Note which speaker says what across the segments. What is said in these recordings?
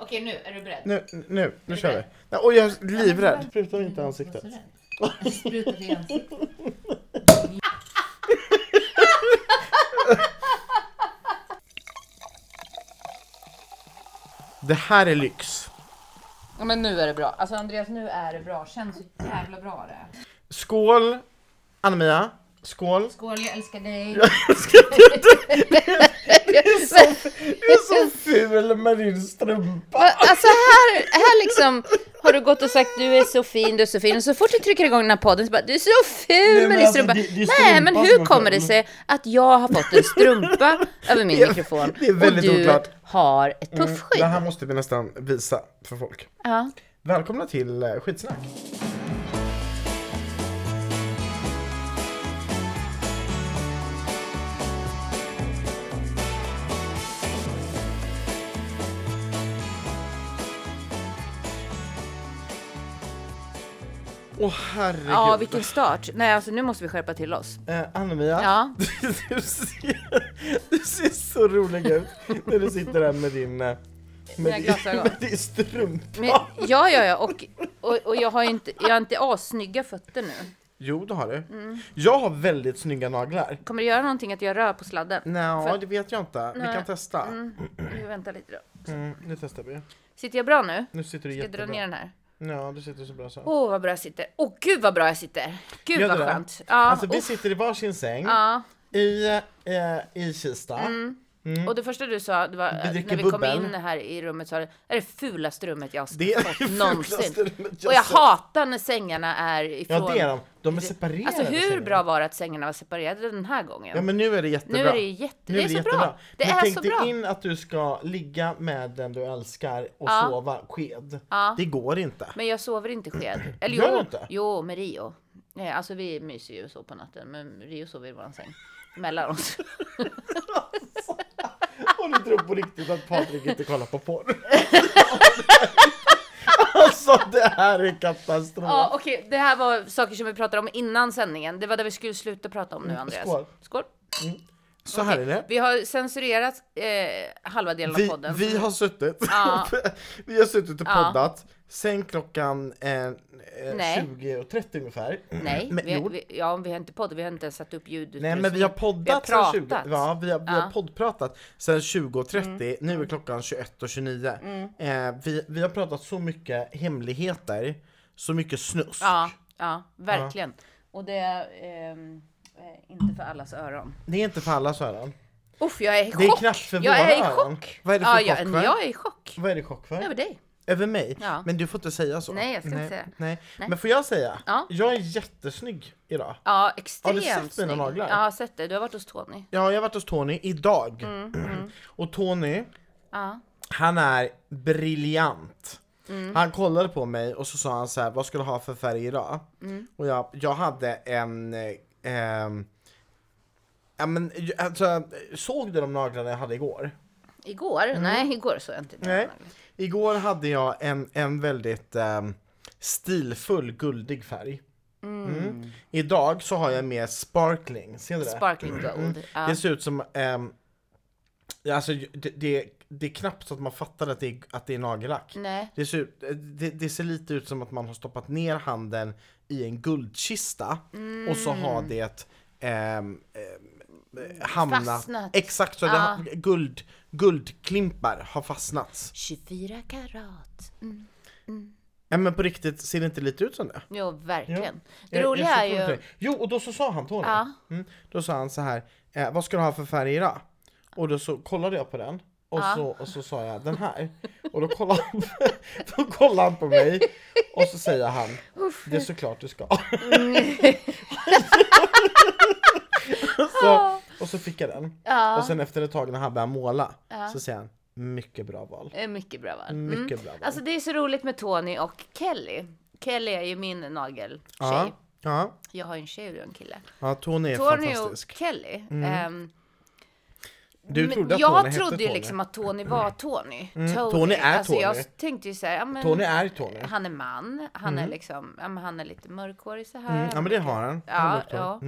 Speaker 1: Okej, nu är du beredd?
Speaker 2: Nu, nu, nu
Speaker 1: du
Speaker 2: kör vi.
Speaker 1: beredd?
Speaker 2: Nej, Oj, jag är livrädd. Spruta inte i
Speaker 1: Jag
Speaker 2: ansiktet.
Speaker 1: är så rädd. Jag sprutar dig i ansiktet.
Speaker 2: Det här är lyx.
Speaker 1: Ja, men nu är det bra. Alltså Andreas, nu är det bra. Känns så jävla bra det.
Speaker 2: Skål, Anna-Mia. Skål.
Speaker 1: Skål, jag älskar dig.
Speaker 2: Du är så ful med din strumpa.
Speaker 1: Va- Alltså här, här liksom har du gått och sagt du är så fin, du är så fin. Och så fort du trycker igång den här podden så bara du är så ful
Speaker 2: men
Speaker 1: med din
Speaker 2: alltså,
Speaker 1: strumpa.
Speaker 2: det- det är
Speaker 1: Nej,
Speaker 2: strumpan
Speaker 1: men
Speaker 2: som
Speaker 1: hur
Speaker 2: är
Speaker 1: kommer det
Speaker 2: ful.
Speaker 1: sig att jag har fått en strumpa över min
Speaker 2: Det är-
Speaker 1: mikrofon
Speaker 2: det är väldigt
Speaker 1: och du
Speaker 2: oklart.
Speaker 1: har ett
Speaker 2: Mm,
Speaker 1: puffskydd?
Speaker 2: Det här måste vi nästan visa för folk.
Speaker 1: Ja.
Speaker 2: Välkomna till eh, Skitsnack. Åh herregud.
Speaker 1: ja, vilken start. Nej, alltså nu måste vi skärpa till oss.
Speaker 2: Eh, Anna-Mia,
Speaker 1: Ja.
Speaker 2: du, ser, du ser så rolig ut när du sitter där med din, eh,
Speaker 1: Mina
Speaker 2: med din,
Speaker 1: glasögon.
Speaker 2: med din strumpa.
Speaker 1: Men, ja, ja, ja. Och, och, och jag har ju inte, jag har inte assnygga fötter nu.
Speaker 2: Jo, det har du.
Speaker 1: Mm.
Speaker 2: Jag har väldigt snygga naglar.
Speaker 1: Kommer det göra någonting att jag rör på sladden?
Speaker 2: Nej,
Speaker 1: För-
Speaker 2: det vet jag inte. Vi
Speaker 1: Nej.
Speaker 2: kan testa. Mm.
Speaker 1: Nu vänta lite då.
Speaker 2: nu testar vi.
Speaker 1: Sitter jag bra nu?
Speaker 2: Nu sitter du
Speaker 1: Ska jag dra
Speaker 2: jättebra.
Speaker 1: ner den här?
Speaker 2: Ja, du sitter så bra så.
Speaker 1: Åh vad bra jag sitter! Åh gud vad bra jag sitter! Gud
Speaker 2: Gör
Speaker 1: vad
Speaker 2: du det?
Speaker 1: skönt! Ja,
Speaker 2: alltså, vi
Speaker 1: uff,
Speaker 2: sitter i varsin säng
Speaker 1: ja. Mm.
Speaker 2: i, eh, i Kista.
Speaker 1: Och det första du sa, det var
Speaker 2: Mm. Vi dricker
Speaker 1: när vi kom
Speaker 2: bubbel.
Speaker 1: in här i rummet så var det "Det är det fulaste rummet jag har
Speaker 2: Det är
Speaker 1: fått
Speaker 2: det fulaste
Speaker 1: någonsin.
Speaker 2: rummet
Speaker 1: Och jag
Speaker 2: sett.
Speaker 1: hatar när sängarna är ifrån...
Speaker 2: Ja, det är de. De är separerade.
Speaker 1: Alltså hur
Speaker 2: sängarna.
Speaker 1: bra var det att sängarna var separerade den här gången?
Speaker 2: Ja, men nu är det jättebra.
Speaker 1: nu är det ju jätte...
Speaker 2: Nu
Speaker 1: det är, så bra! Det
Speaker 2: Men
Speaker 1: är
Speaker 2: tänk
Speaker 1: så
Speaker 2: dig
Speaker 1: bra!
Speaker 2: in att du ska ligga med den du älskar och
Speaker 1: Ja.
Speaker 2: sova sked.
Speaker 1: Ja.
Speaker 2: Det går inte.
Speaker 1: Men jag sover inte i sked. Eller
Speaker 2: Gör du
Speaker 1: jo,
Speaker 2: inte?
Speaker 1: jo, med Rio. Nej, alltså vi myser ju så på natten, men Rio sover i våran säng. Mellan oss. Alltså.
Speaker 2: Och du tror på riktigt att Patrik inte kollar på porr? alltså det här är katastrof!
Speaker 1: Ja okej, det här var saker som vi pratade om innan sändningen. Det var det vi skulle sluta prata om nu Andreas.
Speaker 2: Mm, skål.
Speaker 1: Skål.
Speaker 2: så här är det.
Speaker 1: Vi har censurerat eh, halva delen av
Speaker 2: Vi,
Speaker 1: podden.
Speaker 2: vi har suttit
Speaker 1: Ja.
Speaker 2: Vi har suttit och
Speaker 1: Ja.
Speaker 2: poddat sen klockan eh, eh,
Speaker 1: Nej.
Speaker 2: 20.30 ungefär.
Speaker 1: Nej,
Speaker 2: Men,
Speaker 1: vi,
Speaker 2: jo.
Speaker 1: vi, ja, vi har inte poddat, vi har inte ens satt upp ljudutrustning.
Speaker 2: Nej men vi har poddat
Speaker 1: Vi har
Speaker 2: sen 20,
Speaker 1: pratat.
Speaker 2: ja, vi har, vi har
Speaker 1: Ja. Mm.
Speaker 2: poddpratat sen 20.30, nu är klockan 21.29. Eh, vi, vi har pratat så mycket hemligheter, så mycket snusk.
Speaker 1: Ja, ja verkligen. Och det är ehm, eh, inte för allas öron.
Speaker 2: Det är inte för alla Sören.
Speaker 1: Uff, jag är i chock!
Speaker 2: Det är knappt för
Speaker 1: jag
Speaker 2: våra
Speaker 1: är i
Speaker 2: öron.
Speaker 1: chock!
Speaker 2: Vad är det för
Speaker 1: ja,
Speaker 2: chock
Speaker 1: jag,
Speaker 2: för?
Speaker 1: jag är i chock.
Speaker 2: Vad är det chock för?
Speaker 1: Över dig.
Speaker 2: Över mig?
Speaker 1: Ja.
Speaker 2: Men du får inte säga så.
Speaker 1: Nej, jag ska
Speaker 2: nej,
Speaker 1: inte säga.
Speaker 2: Nej.
Speaker 1: Nej.
Speaker 2: Men får jag säga?
Speaker 1: Ja.
Speaker 2: Jag är jättesnygg idag.
Speaker 1: Ja, extremt
Speaker 2: sett mina
Speaker 1: snygg.
Speaker 2: naglar?
Speaker 1: Ja, jag har sett det. Du har varit hos Tony.
Speaker 2: Ja, jag har varit hos Tony idag.
Speaker 1: Mm,
Speaker 2: Och Tony,
Speaker 1: Ja.
Speaker 2: han är briljant.
Speaker 1: Mm.
Speaker 2: Han kollade på mig och så sa han så här, vad ska du ha för färg idag?
Speaker 1: Mm.
Speaker 2: Och jag, jag hade en... Eh, ehm, ja, men, alltså, såg du de naglarna jag hade igår?
Speaker 1: Igår? Nej, igår såg jag inte dina
Speaker 2: Mm. Nej.
Speaker 1: naglar.
Speaker 2: Igår hade jag en, en väldigt ehm, stilfull guldig färg. Mm. Idag så har jag mer sparkling, ser du det?
Speaker 1: Sparkling
Speaker 2: Mm.
Speaker 1: gold. Ja.
Speaker 2: Det ser ut som, ehm, ja, alltså det, det, det är knappt så att man fattar att det är, att det är nagellack.
Speaker 1: Nej.
Speaker 2: Det ser, ut, det, det ser lite ut som att man har stoppat ner handen i en guldkista och så har
Speaker 1: Mm.
Speaker 2: det ehm, ehm, hamnat,
Speaker 1: Fastnat.
Speaker 2: exakt så, det
Speaker 1: Ja.
Speaker 2: har, guld, guldklimpar har fastnat.
Speaker 1: 24 karat. Mm.
Speaker 2: Ja, men på riktigt, ser det inte lite ut som det?
Speaker 1: Jo, verkligen. Det
Speaker 2: Jag- jag
Speaker 1: roliga
Speaker 2: ser
Speaker 1: är
Speaker 2: på
Speaker 1: ju...
Speaker 2: det. Jo, och då så sa han Tony.
Speaker 1: Ja.
Speaker 2: Mm, då sa han så här, eh, vad ska du ha för färg idag? Och då så kollade jag på den, och,
Speaker 1: Ja.
Speaker 2: så, och så sa jag den här. Och då kollade, han, då kollade han på mig, och så säger han, det är såklart du ska. så, och så fick jag den. Och
Speaker 1: Ja,
Speaker 2: sen efter ett tag när han började måla,
Speaker 1: Ja.
Speaker 2: så säger han, mycket bra val.
Speaker 1: det är mycket bra val. Mm.
Speaker 2: Mycket bra val.
Speaker 1: Alltså det är så roligt med Tony och Kelly. Kelly är ju min nageltjej.
Speaker 2: ja, ja,
Speaker 1: Jag har ju en tjej och du har en kille.
Speaker 2: ja, Tony är
Speaker 1: Tony och
Speaker 2: fantastisk. Mm.
Speaker 1: Kelly. ehm,
Speaker 2: Du
Speaker 1: men
Speaker 2: trodde att
Speaker 1: jag
Speaker 2: Tony
Speaker 1: trodde
Speaker 2: hette
Speaker 1: ju
Speaker 2: Tony. Mm.
Speaker 1: liksom att Tony var Tony. Tony.
Speaker 2: Tony är
Speaker 1: alltså
Speaker 2: Tony.
Speaker 1: jag tänkte ju såhär, ja, men
Speaker 2: Tony är Tony.
Speaker 1: han är man, han är liksom, ja, men han är lite mörkhårig så här.
Speaker 2: Mm, ja men Mm. det har han.
Speaker 1: Ja,
Speaker 2: Han har doktor.
Speaker 1: ja.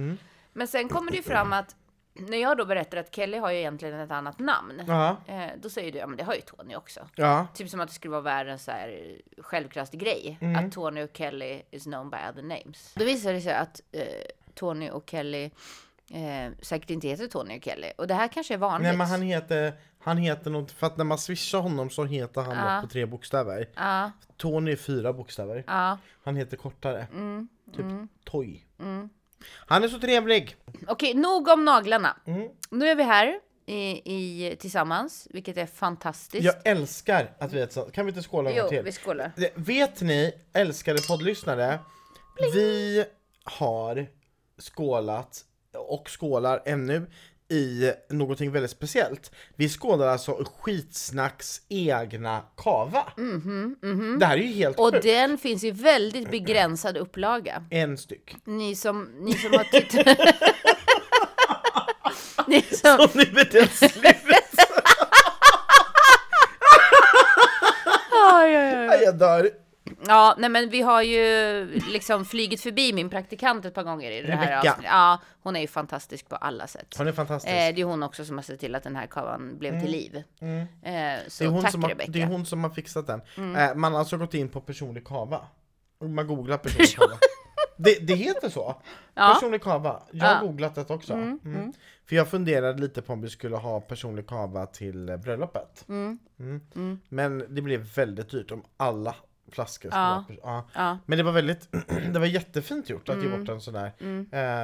Speaker 1: Men sen kommer det ju fram att när jag då berättar att Kelly har ju egentligen ett annat namn,
Speaker 2: Ja.
Speaker 1: eh, då säger du ja men det har ju Tony också.
Speaker 2: Ja.
Speaker 1: Typ som att det skulle vara världens så här självklaraste grej.
Speaker 2: Mm.
Speaker 1: Att Tony och Kelly is known by other names. Då visar det sig att eh, Tony och Kelly eh, säkert inte heter Tony och Kelly. Och det här kanske är vanligt.
Speaker 2: Nej men han heter, han heter något, för att när man swishar honom så heter han
Speaker 1: Ja.
Speaker 2: något på tre bokstäver.
Speaker 1: Ja,
Speaker 2: Tony är fyra bokstäver.
Speaker 1: ja.
Speaker 2: Han heter kortare.
Speaker 1: Mm,
Speaker 2: typ Toy. Han är så trevlig!
Speaker 1: Okej, nog om naglarna.
Speaker 2: Mm.
Speaker 1: Nu är vi här i, i, tillsammans, vilket är fantastiskt.
Speaker 2: Jag älskar att vi är tillsammans. Kan vi inte skåla en gång
Speaker 1: jo,
Speaker 2: till?
Speaker 1: vi skålar.
Speaker 2: Det- Vet ni, älskade poddlyssnare, vi har skålat och skålar ännu i någonting väldigt speciellt. Vi skålar alltså Skitsnacks egna kava. Det här är ju helt
Speaker 1: Mhm, Och
Speaker 2: sjukt.
Speaker 1: den finns i väldigt begränsad upplaga.
Speaker 2: En styck.
Speaker 1: Ni som, ni som har tittat... ni som,
Speaker 2: Om ni vet ens livet.
Speaker 1: ja, ja, ja.
Speaker 2: Jag dör.
Speaker 1: ja, nej men vi har ju liksom flugit förbi min praktikant ett par gånger i det här
Speaker 2: Rebecca.
Speaker 1: avsnittet. Ja, hon är ju fantastisk på alla sätt.
Speaker 2: Hon är fantastisk. Mm.
Speaker 1: Eh, det är hon också som har sett till att den här kavan blev till liv. Eh, så
Speaker 2: det, är hon
Speaker 1: tack
Speaker 2: som har,
Speaker 1: Rebecca.
Speaker 2: det är hon som har fixat den. Eh, man har alltså gått in på personlig kava. Och Man googlar personlig kava. Det, det heter så.
Speaker 1: Ja.
Speaker 2: Personlig kava. Jag har
Speaker 1: Ja.
Speaker 2: googlat det också. Mm. För jag funderade lite på om vi skulle ha personlig kava till eh, bröllopet. Mm. Men det blev väldigt dyrt om alla flaskor skulle
Speaker 1: Ja.
Speaker 2: vara pers- ja.
Speaker 1: Ja.
Speaker 2: Men det var väldigt, det var jättefint gjort att ge bort en sån där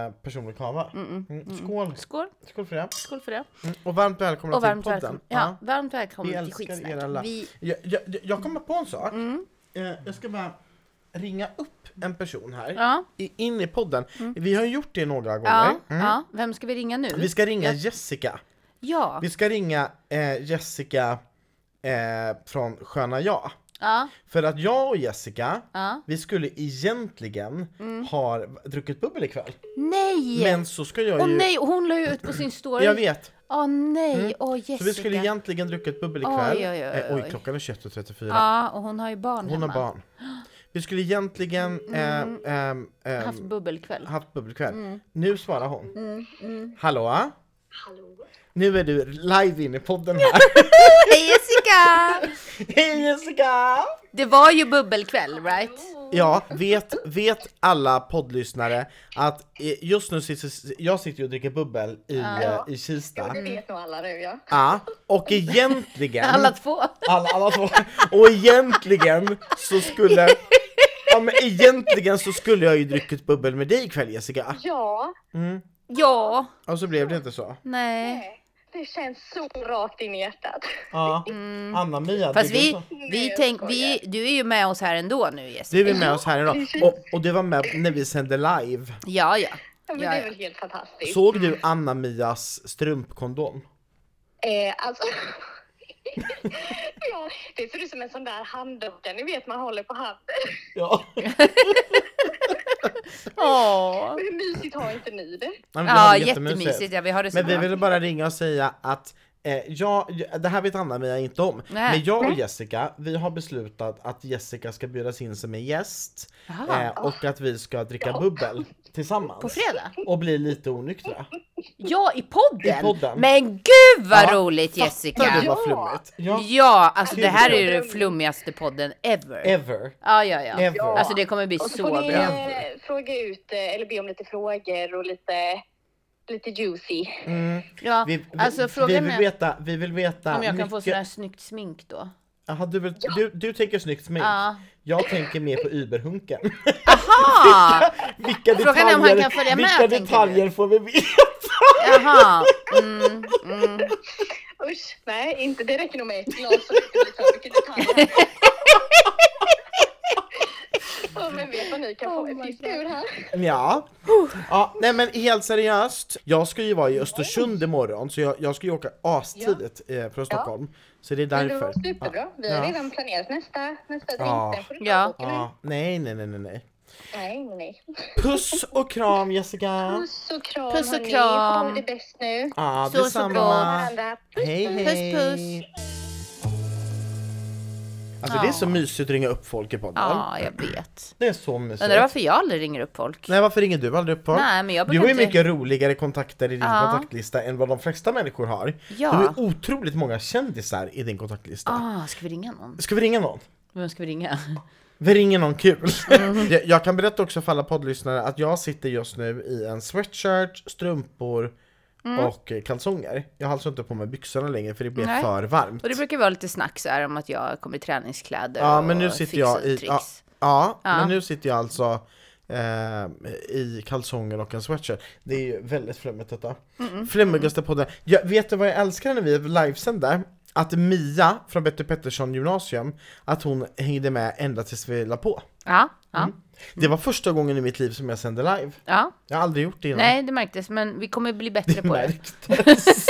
Speaker 2: eh, personlig kava. Mm. Skål!
Speaker 1: Skål,
Speaker 2: Skål för det!
Speaker 1: skål för det.
Speaker 2: Mm. Och varmt välkomna
Speaker 1: Och varmt
Speaker 2: till podden!
Speaker 1: välkommen.
Speaker 2: Ja.
Speaker 1: Ja, varmt
Speaker 2: Vi
Speaker 1: välkommen till
Speaker 2: älskar er alla.
Speaker 1: skitsnack. Vi,
Speaker 2: Jag, jag, jag kommer på en sak.
Speaker 1: Mm.
Speaker 2: Eh, jag ska bara ringa upp en person här,
Speaker 1: ja, Mm.
Speaker 2: i, in i podden. Vi har gjort det några gånger.
Speaker 1: ja, ja, vem ska vi ringa nu?
Speaker 2: Mm. Vi ska ringa Jessica.
Speaker 1: Ja,
Speaker 2: Vi ska ringa eh, Jessica eh, från Sköna Jag.
Speaker 1: ja,
Speaker 2: För att jag och Jessica,
Speaker 1: ja.
Speaker 2: vi skulle egentligen
Speaker 1: Mm.
Speaker 2: ha druckit bubbel ikväll.
Speaker 1: Nej!
Speaker 2: Men så ska jag
Speaker 1: Åh
Speaker 2: ju...
Speaker 1: nej, hon la ju ut på sin story.
Speaker 2: Jag vet. Mm.
Speaker 1: Åh nej, åh
Speaker 2: Så
Speaker 1: Jessica.
Speaker 2: vi skulle egentligen druckit bubbel ikväll.
Speaker 1: Oj, oj, oj,
Speaker 2: Eh, oj
Speaker 1: oj.
Speaker 2: klockan är 21.34.
Speaker 1: Ja, och hon har ju barn
Speaker 2: Hon
Speaker 1: hemma.
Speaker 2: har barn. Vi skulle egentligen ehm, ehm, ehm,
Speaker 1: Mm. Haft bubbelkväll.
Speaker 2: haft bubbelkväll. Nu svarar hon. Hallå? Hallå? Nu är du live in i podden här.
Speaker 1: Hej Jessica!
Speaker 2: Hej Jessica!
Speaker 1: Det var ju bubbelkväll, right?
Speaker 2: Ja, vet, vet alla poddlyssnare att eh, just nu sitter jag sitter ju och dricker bubbel i, eh, i Kista.
Speaker 3: Det vet nog alla nu ja.
Speaker 2: Ja, och egentligen...
Speaker 1: Alla två.
Speaker 2: Alla, alla två. Och egentligen så skulle... Ja men egentligen så skulle jag ju druckit bubbel med dig ikväll Jessica. Mm.
Speaker 3: Ja,
Speaker 1: Ja,
Speaker 2: Och så blev det inte så.
Speaker 1: nej.
Speaker 3: det känns så rakt in i hjärtat.
Speaker 2: Ja. Anna-Mia,
Speaker 1: Fast
Speaker 2: du-
Speaker 1: vi, vi
Speaker 3: Nej,
Speaker 1: tänk,
Speaker 3: jag
Speaker 1: vi, du är ju med oss här ändå nu Jessica.
Speaker 2: du är med oss här idag. Och, och du var med när vi sände live.
Speaker 1: Ja, ja.
Speaker 3: Ja, Men
Speaker 1: Ja,
Speaker 3: det
Speaker 1: ja.
Speaker 3: är väl helt fantastiskt.
Speaker 2: Såg du Anna-Mias strumpkondom?
Speaker 3: Eh, alltså... ja, det ser ut som en sån där handdocka ni vet man håller på handen.
Speaker 2: Ja.
Speaker 1: Åh.
Speaker 3: Hur mysigt har inte ni det?
Speaker 2: men vi
Speaker 1: Ja,
Speaker 2: hade jättemysigt.
Speaker 1: jättemysigt. Ja, vi har det så
Speaker 2: Men vi
Speaker 1: bra.
Speaker 2: ville bara ringa och säga att eh, jag, det här vet Anna-Mia inte om,
Speaker 1: Nej.
Speaker 2: men jag och Jessica, vi har beslutat att Jessica ska bjudas in som en gäst
Speaker 1: Jaha.
Speaker 2: eh, och att vi ska dricka bubbel tillsammans.
Speaker 1: Ah. På fredag?
Speaker 2: Och bli lite onyktra.
Speaker 1: Ja, i podden!
Speaker 2: I podden.
Speaker 1: Men gud vad
Speaker 2: Ja,
Speaker 1: roligt
Speaker 2: Fattar
Speaker 1: Jessica!
Speaker 2: du vad flummigt? Ja.
Speaker 1: Ja, alltså det här är den
Speaker 3: Drömmen.
Speaker 1: flummigaste podden ever.
Speaker 2: Ever.
Speaker 1: Ja, ja, ja.
Speaker 2: Ever.
Speaker 3: Ja.
Speaker 1: Alltså det kommer bli
Speaker 3: Och så
Speaker 1: så
Speaker 3: får ni
Speaker 1: bra.
Speaker 3: eh, fråga ut, eh, eller be om lite frågor och lite, lite juicy.
Speaker 2: Mm.
Speaker 1: Ja,
Speaker 2: Vi, vi,
Speaker 1: alltså
Speaker 2: vi
Speaker 1: frågan
Speaker 2: vill
Speaker 1: är
Speaker 2: veta, vi vill veta
Speaker 1: om jag kan få
Speaker 2: mycket-
Speaker 1: sån här snyggt smink då.
Speaker 2: Jaha, du, vill, du, du tänker snyggt smink.
Speaker 1: Ja.
Speaker 2: Jag tänker mer på Uberhunken.
Speaker 1: Jaha!
Speaker 2: vilka
Speaker 1: Frågan är om han
Speaker 2: detaljer,
Speaker 1: kan följa med,
Speaker 2: vilka
Speaker 1: tänker du?
Speaker 2: detaljer får vi veta?
Speaker 1: Jaha! Mm, mm.
Speaker 3: Usch, nej inte det räcker nog med ett glas så det inte blir för mycket detaljer. Ja, men vet vad ni kan få
Speaker 1: Oh my
Speaker 3: ett fisk ur här?
Speaker 2: Ja. ja. Nej men helt seriöst, jag ska ju vara i Östersund imorgon så jag, jag ska ju åka astidigt eh, från Stockholm. Så det är
Speaker 3: Men det
Speaker 2: därför.
Speaker 3: var superbra. Vi har
Speaker 2: Ja.
Speaker 3: redan planerat nästa, nästa drink.
Speaker 2: Ja.
Speaker 3: Den får du ta
Speaker 1: Ja.
Speaker 3: boken.
Speaker 2: Ja. Nej, nej, nej, nej, nej.
Speaker 3: Nej, nej.
Speaker 2: Puss och kram Jessica!
Speaker 3: Puss och kram
Speaker 1: Puss och
Speaker 3: hörni.
Speaker 1: kram.
Speaker 3: Ha det bäst nu.
Speaker 2: Ja,
Speaker 1: Så, så
Speaker 2: detsamma.
Speaker 1: bra.
Speaker 3: Varandra.
Speaker 2: Hej, hej!
Speaker 1: Puss, puss.
Speaker 2: Alltså det är så mysigt att ringa upp folk i podden.
Speaker 1: Ja, jag vet.
Speaker 2: Det är så mysigt.
Speaker 1: Undrar varför jag aldrig ringer upp folk?
Speaker 2: Nej varför ringer du aldrig upp folk?
Speaker 1: Nej, men jag
Speaker 2: du
Speaker 1: brukar
Speaker 2: har ju
Speaker 1: inte-
Speaker 2: mycket roligare kontakter i din
Speaker 1: Ja.
Speaker 2: kontaktlista än vad de flesta människor har.
Speaker 1: Ja.
Speaker 2: Du har ju otroligt många kändisar i din kontaktlista.
Speaker 1: Ah, ska vi ringa någon?
Speaker 2: Ska vi ringa någon?
Speaker 1: Vem ska vi ringa?
Speaker 2: Vi ringer någon kul.
Speaker 1: Mm.
Speaker 2: jag, jag kan berätta också för alla poddlyssnare att jag sitter just nu i en sweatshirt, strumpor och eh, kalsonger. Jag har alltså inte på mig byxorna längre för det blir
Speaker 1: Mm. Nej.
Speaker 2: för varmt.
Speaker 1: Och det brukar vara lite snack så här om att jag kommer i träningskläder
Speaker 2: Ja
Speaker 1: och
Speaker 2: men nu sitter
Speaker 1: fix
Speaker 2: jag
Speaker 1: och
Speaker 2: i, ja,
Speaker 1: tricks.
Speaker 2: ja,
Speaker 1: Ja.
Speaker 2: men nu sitter jag alltså eh, i kalsonger och en sweatshirt. Det är ju väldigt flummigt detta. Flummigaste podden. Jag, vet du vad jag älskar när vi livesände? Att Mia från Betty Pettersson gymnasium, att hon hängde med ända tills vi la på.
Speaker 1: Ja, ja,
Speaker 2: Det
Speaker 1: Mm.
Speaker 2: var första gången i mitt liv som jag sände live.
Speaker 1: ja.
Speaker 2: Jag har aldrig gjort det innan.
Speaker 1: Nej, det märktes, men vi kommer bli bättre
Speaker 2: det
Speaker 1: på det.
Speaker 2: märktes.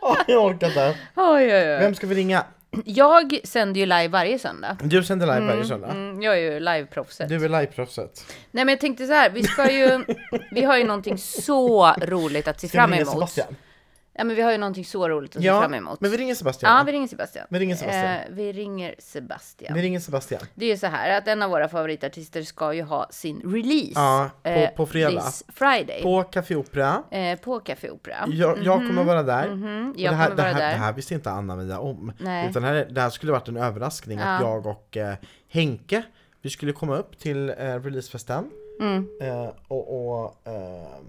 Speaker 2: Ja, jag orkar inte.
Speaker 1: Oj, oj, oj.
Speaker 2: Vem ska vi ringa?
Speaker 1: Jag sänder ju live varje söndag.
Speaker 2: Du sänder live varje söndag.
Speaker 1: Mm, jag är ju liveproffset.
Speaker 2: Du är liveproffset.
Speaker 1: Nej, men jag tänkte så här, vi ska ju, vi har ju någonting så roligt att se
Speaker 2: Ska
Speaker 1: fram
Speaker 2: vi ringa
Speaker 1: emot.
Speaker 2: Sebastian?
Speaker 1: Ja, men vi har ju någonting så roligt att se
Speaker 2: Ja,
Speaker 1: fram emot.
Speaker 2: men vi ringer Sebastian.
Speaker 1: Ja, vi ringer Sebastian.
Speaker 2: Vi ringer Sebastian.
Speaker 1: Eh, vi ringer Sebastian.
Speaker 2: Vi ringer Sebastian.
Speaker 1: Det är ju så här att en av våra favoritartister ska ju ha sin release. eh,
Speaker 2: Ja, på- på fredag.
Speaker 1: This Friday. På,
Speaker 2: På Café Opera.
Speaker 1: eh, på Café Opera.
Speaker 2: Jag, jag kommer vara där.
Speaker 1: Mhm,
Speaker 2: Och
Speaker 1: Mm-hmm. jag
Speaker 2: det, här,
Speaker 1: kommer
Speaker 2: det,
Speaker 1: vara
Speaker 2: här,
Speaker 1: där.
Speaker 2: det här visste inte Anna-Mia om.
Speaker 1: Nej.
Speaker 2: Utan det här, det här skulle varit en överraskning att jag och eh, Henke, vi skulle komma upp till eh, releasefesten.
Speaker 1: Mm.
Speaker 2: Eh, och, och ehm,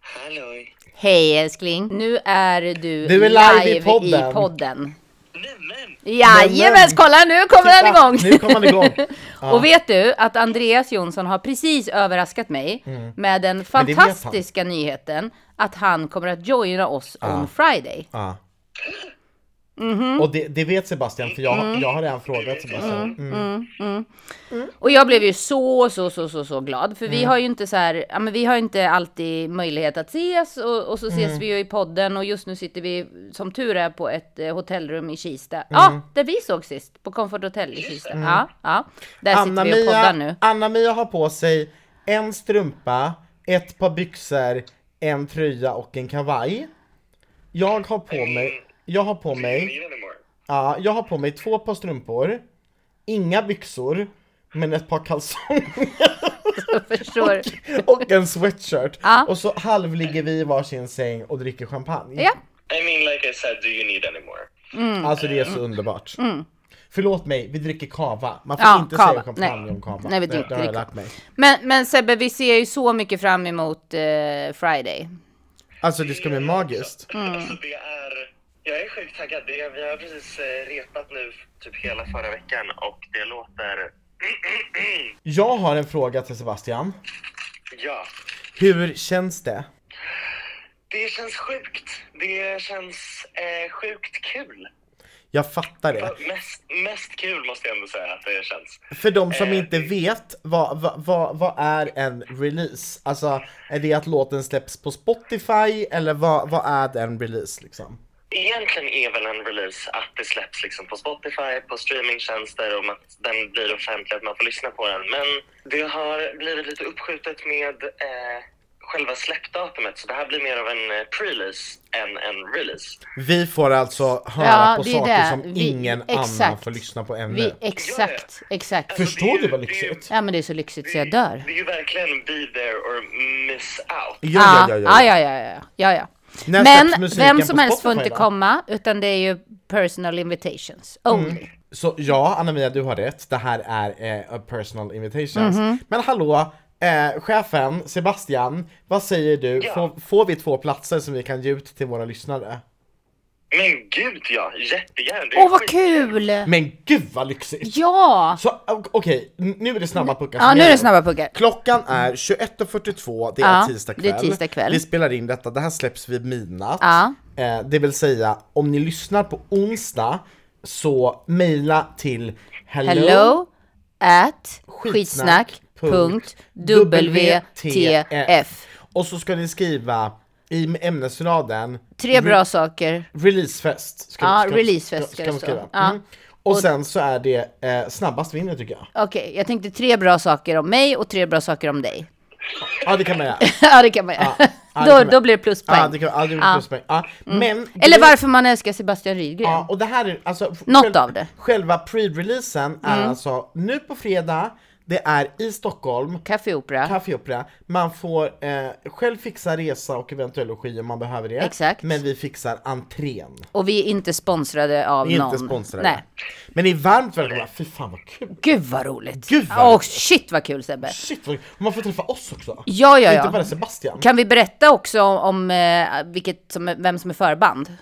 Speaker 4: Halloj!
Speaker 1: Hej älskling! Nu är du,
Speaker 2: Du är live i podden.
Speaker 1: i podden.
Speaker 4: Nämen!
Speaker 1: Jajamän, kolla nu kommer den
Speaker 2: titta,
Speaker 1: igång!
Speaker 2: Nu kommer han igång! Ja.
Speaker 1: Och vet du att Andreas Jonsson har precis överraskat mig med den
Speaker 2: Mm. Men det vet han.
Speaker 1: fantastiska nyheten att han kommer att joina oss on Friday.
Speaker 2: Ja.
Speaker 1: Mm-hmm.
Speaker 2: Och det, det vet Sebastian för jag, har-
Speaker 1: Mm.
Speaker 2: jag har redan frågat Sebastian. Mm.
Speaker 1: Och jag blev ju så, så, så, så, så glad. För vi har ju inte så här, ja men vi har ju inte alltid möjlighet att ses och, och så ses vi ju i podden och just nu sitter vi som tur är på ett eh, hotellrum i Kista. Ja, där vi såg sist, på Comfort Hotel i Kista. Ja, ja. Där sitter vi och poddar nu.
Speaker 2: Anna-Mia Anna har på sig en strumpa, ett par byxor, en tröja och en kavaj. Jag har på mig, jag har på mig,
Speaker 4: Ingen anymore.
Speaker 2: ja, jag har på mig två par strumpor, inga byxor, men ett par kalsonger
Speaker 1: Jag förstår.
Speaker 2: och en sweatshirt.
Speaker 1: Ja.
Speaker 2: Och så halvligger vi i varsin säng och dricker champagne.
Speaker 1: Ja,
Speaker 4: I mean, like I said, do you need any more?
Speaker 2: Alltså det är så underbart. Förlåt mig, vi dricker kava. Man får
Speaker 1: Mm. Ja,
Speaker 2: inte
Speaker 1: kava.
Speaker 2: säga champagne
Speaker 1: Nej.
Speaker 2: om kava.
Speaker 1: Nej, vi
Speaker 2: det, det
Speaker 1: dricker
Speaker 2: har jag
Speaker 1: kava.
Speaker 2: lärt mig.
Speaker 1: men, men Sebbe, vi ser ju så mycket fram emot eh, Friday.
Speaker 2: Alltså det ska bli magiskt.
Speaker 4: Alltså, det är... Jag är sjukt taggad. Det, vi har precis eh, repat nu typ hela förra veckan och det låter...
Speaker 2: Jag har en fråga till Sebastian.
Speaker 4: ja.
Speaker 2: Hur känns det?
Speaker 4: Det känns sjukt. Det känns eh, sjukt kul.
Speaker 2: Jag fattar det.
Speaker 4: Mest, mest kul måste jag ändå säga att det känns.
Speaker 2: För de som
Speaker 4: Eh,
Speaker 2: inte vet, vad, vad, vad, vad är en release? Alltså, är det att låten släpps på Spotify eller vad, vad är en release liksom?
Speaker 4: Egentligen är väl en release att det släpps liksom på Spotify, på streamingtjänster och att den blir offentlig, att man får lyssna på den. Men det har blivit lite uppskjutet med eh, själva släppdatumet, så det här blir mer av en eh, pre-release än en release.
Speaker 2: Vi får alltså höra
Speaker 1: Ja,
Speaker 2: på
Speaker 1: det är
Speaker 2: saker
Speaker 1: det.
Speaker 2: som
Speaker 1: Vi-
Speaker 2: ingen annan
Speaker 1: exakt.
Speaker 2: får lyssna på ännu.
Speaker 1: Vi, exakt, exakt.
Speaker 4: För-
Speaker 2: Förstår du vad
Speaker 4: det är ju-
Speaker 2: lyxigt?
Speaker 1: Ja men det är så lyxigt så jag dör.
Speaker 4: Det är ju verkligen be there or miss out.
Speaker 2: Ja, ja, ja. ja.
Speaker 1: ja, ja, ja, ja, ja.
Speaker 2: När släpps
Speaker 1: Men
Speaker 2: musiken
Speaker 1: vem
Speaker 2: på
Speaker 1: som helst får
Speaker 2: Spotify
Speaker 1: inte
Speaker 2: då? Mm.
Speaker 1: komma, utan det är ju personal invitations only.
Speaker 2: Så ja, Anna-Mia, du har rätt. Det här är eh, a personal invitations.
Speaker 1: Mhm.
Speaker 2: Men hallå, eh, chefen Sebastian, vad säger du?
Speaker 4: Ja.
Speaker 2: Får, får vi två platser som vi kan ge ut till våra lyssnare?
Speaker 4: Men gud ja, jättegärna. Det är
Speaker 1: Åh vad
Speaker 4: skit-
Speaker 1: kul!
Speaker 2: Men gud vad lyxigt!
Speaker 1: Ja!
Speaker 2: Så o- okej, n- nu är det snabba puckar
Speaker 1: Ja nu
Speaker 2: som
Speaker 1: är det
Speaker 2: gäller.
Speaker 1: snabba puckar.
Speaker 2: Klockan är 21.42, det är
Speaker 1: Ja,
Speaker 2: tisdag kväll.
Speaker 1: det är tisdag kväll.
Speaker 2: Vi spelar in detta, det här släpps vid midnatt.
Speaker 1: Ja.
Speaker 2: Eh, det vill säga, om ni lyssnar på onsdag så mejla till hello,
Speaker 1: Hello at
Speaker 2: Skitsnack punkt
Speaker 1: skitsnack.wtf
Speaker 2: och så ska ni skriva i ämnesraden
Speaker 1: Tre bra saker.
Speaker 2: releasefest. Ska,
Speaker 1: Ja, releasefest ska
Speaker 2: ska, ska,
Speaker 1: det
Speaker 2: man
Speaker 1: stå.
Speaker 2: skriva.
Speaker 1: Ja.
Speaker 2: Mm. Och sen så är det eh, snabbast vinner tycker jag.
Speaker 1: Okej, jag tänkte tre bra saker om mig och tre bra saker om dig.
Speaker 2: Ja det kan man göra.
Speaker 1: ja det kan man göra.
Speaker 2: Ja, Ja, det
Speaker 1: då,
Speaker 2: kommer-
Speaker 1: då blir det pluspoäng.
Speaker 2: Ja, det kan aldrig bli
Speaker 1: Ja. Mm.
Speaker 2: pluspoäng. Ja, men...
Speaker 1: Eller
Speaker 2: grejen-
Speaker 1: varför man älskar Sebastian Rydgren.
Speaker 2: Ja, och det här är alltså... f-
Speaker 1: Något av det. Mm.
Speaker 2: Själva pre-releasen är alltså nu på fredag, det är i Stockholm,
Speaker 1: Café Opera.
Speaker 2: Café Opera. Man får eh, själv fixa resa och eventuell logi om man behöver det.
Speaker 1: Exakt.
Speaker 2: Men vi fixar entrén.
Speaker 1: och vi är inte sponsrade av
Speaker 2: Vi är
Speaker 1: någon.
Speaker 2: inte sponsrade.
Speaker 1: Nej.
Speaker 2: Men ni är varmt välkomna, fy fan vad kul!
Speaker 1: Gud vad roligt!
Speaker 2: Gud, vad
Speaker 1: Och shit vad kul Sebbe!
Speaker 2: Shit vad kul! Och Man får träffa oss också!
Speaker 1: Ja, ja,
Speaker 2: Inte bara
Speaker 1: ja.
Speaker 2: Sebastian.
Speaker 1: Kan vi berätta också om, om eh, vilket som, är- vem som är förband?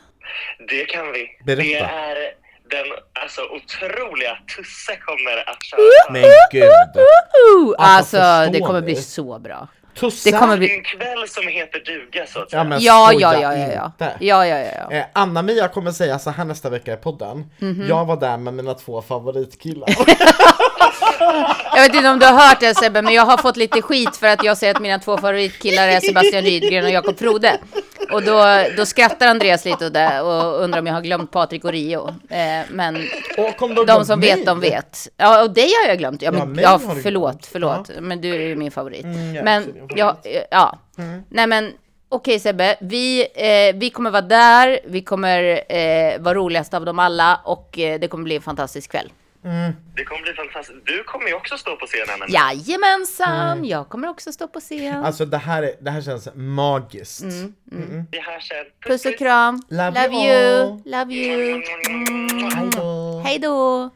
Speaker 4: Det kan vi.
Speaker 2: Berätta.
Speaker 4: Det är den alltså, otroliga Tusse kommer att köra.
Speaker 2: Men gud!
Speaker 1: Uhu! Alltså,
Speaker 2: Alltså, förstår
Speaker 1: det kommer
Speaker 2: ni?
Speaker 1: bli så bra.
Speaker 2: Tussar!
Speaker 1: Det kommer
Speaker 4: Det
Speaker 1: bli-
Speaker 4: är en kväll som heter duga så att säga.
Speaker 2: Ja men
Speaker 1: Ja,
Speaker 2: skoja
Speaker 1: ja, ja, ja, ja.
Speaker 2: inte!
Speaker 1: ja, ja, ja, ja.
Speaker 2: Eh, Anna-Mia kommer säga så här nästa vecka i podden.
Speaker 1: Mhm.
Speaker 2: Jag var där med mina två favoritkillar.
Speaker 1: Jag vet inte om du har hört det Sebbe, men jag har fått lite skit för att jag säger att mina två favoritkillar är Sebastian Rydgren och Jakob Frode. Och då, då skrattar Andreas lite åt det och undrar om jag har glömt Patrik och Rio. Eh, men
Speaker 2: Och kom då
Speaker 1: de som
Speaker 2: mig.
Speaker 1: vet, de vet. Ja, och dig har jag glömt. Ja,
Speaker 2: Ja, Mm,
Speaker 1: men,
Speaker 2: mig
Speaker 1: ja
Speaker 2: har du glömt.
Speaker 1: förlåt, förlåt. Men du är ju min favorit.
Speaker 2: jag är också
Speaker 1: men,
Speaker 2: din
Speaker 1: ja, ja.
Speaker 2: Mm.
Speaker 1: Nej men, okej Sebbe. Vi, eh, vi kommer vara där, vi kommer eh, vara roligast av dem alla och eh, det kommer bli en fantastisk kväll.
Speaker 4: Det kommer bli fantastiskt. Du kommer ju också stå på scenen. Anna.
Speaker 1: Jajamensan, jag kommer också stå på scen.
Speaker 2: Mm. Alltså det här, är, det här känns magiskt.
Speaker 1: Mm.
Speaker 4: Vi hörs sen.
Speaker 1: Puss och kram.
Speaker 2: Love
Speaker 1: Love
Speaker 2: you all.
Speaker 1: you. Love you.
Speaker 4: Mm.
Speaker 2: Hej då.
Speaker 1: Hej då.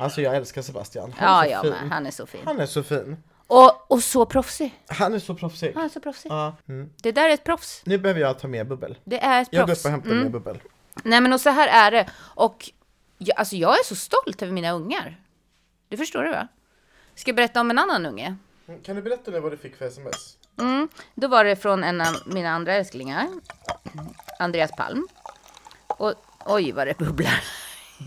Speaker 2: Alltså jag älskar Sebastian. Han är
Speaker 1: Mm. Ja,
Speaker 2: så
Speaker 1: jag
Speaker 2: fin.
Speaker 1: med. Han är så fin.
Speaker 2: Han är så fin.
Speaker 1: Och, och så proffsig.
Speaker 2: Han är så proffsig.
Speaker 1: Han är så proffsig.
Speaker 2: Ja. Mm.
Speaker 1: Det där är ett proffs.
Speaker 2: Nu behöver jag ta med bubbel.
Speaker 1: Det är ett
Speaker 2: Jag går upp
Speaker 1: proffs.
Speaker 2: och hämtar mer bubbel.
Speaker 1: Nej men och så här är det. Och jag, alltså jag är så stolt över mina ungar. Du förstår det va? Ska jag berätta om en annan unge?
Speaker 2: Kan du berätta nu vad du fick för sms?
Speaker 1: Mm. Då var det från en av mina andra älsklingar. Andreas Palm. Och oj vad det bubblar.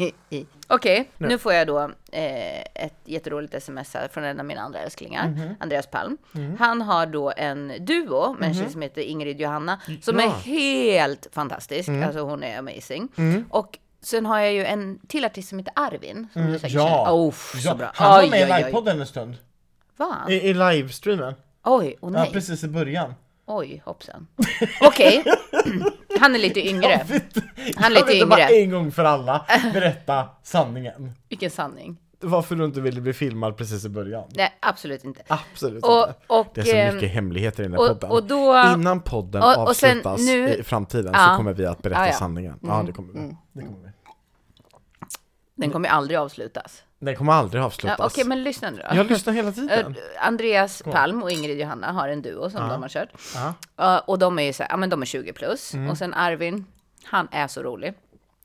Speaker 1: Okej, nu får jag då eh, ett jätteroligt sms här från en av mina andra älsklingar,
Speaker 2: Mhm.
Speaker 1: Andreas Palm. Han har då en duo med en
Speaker 2: Mhm.
Speaker 1: tjej som heter Ingrid Johanna som är helt fantastisk.
Speaker 2: Mm.
Speaker 1: Alltså hon är amazing. Och sen har jag ju en till artist som heter Arvin. Som du säkert
Speaker 2: Mm, Ja.
Speaker 1: känner. Oh, så bra.
Speaker 2: Han var
Speaker 1: Oj,
Speaker 2: med i
Speaker 1: oj, oj.
Speaker 2: livepodden en stund.
Speaker 1: Va?
Speaker 2: I, i livestreamen.
Speaker 1: Oj, åh
Speaker 2: Ja,
Speaker 1: nej.
Speaker 2: precis i början.
Speaker 1: Oj, hoppsan. Okej. Han är lite yngre.
Speaker 2: Han
Speaker 1: är lite
Speaker 2: bara
Speaker 1: yngre.
Speaker 2: en gång för alla berätta sanningen.
Speaker 1: Vilken sanning.
Speaker 2: Varför du inte ville bli filmad precis i början.
Speaker 1: Nej, absolut inte.
Speaker 2: Absolut
Speaker 1: Och,
Speaker 2: inte.
Speaker 1: och,
Speaker 2: Ah, Det är
Speaker 1: ehm,
Speaker 2: så mycket hemligheter i den här
Speaker 1: och,
Speaker 2: podden.
Speaker 1: och då...
Speaker 2: Innan podden
Speaker 1: och- och sen
Speaker 2: avslutas
Speaker 1: nu-
Speaker 2: i framtiden så
Speaker 1: Ja.
Speaker 2: kommer vi att berätta
Speaker 1: Ja, Mm. ja.
Speaker 2: sanningen. Ja, det kommer vi. Det kommer vi.
Speaker 1: Den kommer ju aldrig avslutas.
Speaker 2: Den kommer aldrig
Speaker 1: Ja,
Speaker 2: avslutas.
Speaker 1: Okej, men lyssna nu då.
Speaker 2: Jag lyssnar hela tiden.
Speaker 1: Eh, Andreas Palm och Ingrid Johanna har en duo
Speaker 2: Ah.
Speaker 1: som de har kört. Eh, och de är ju så här, ja men de är 20 plus.
Speaker 2: Mm.
Speaker 1: Och sen Arvin, han är så rolig.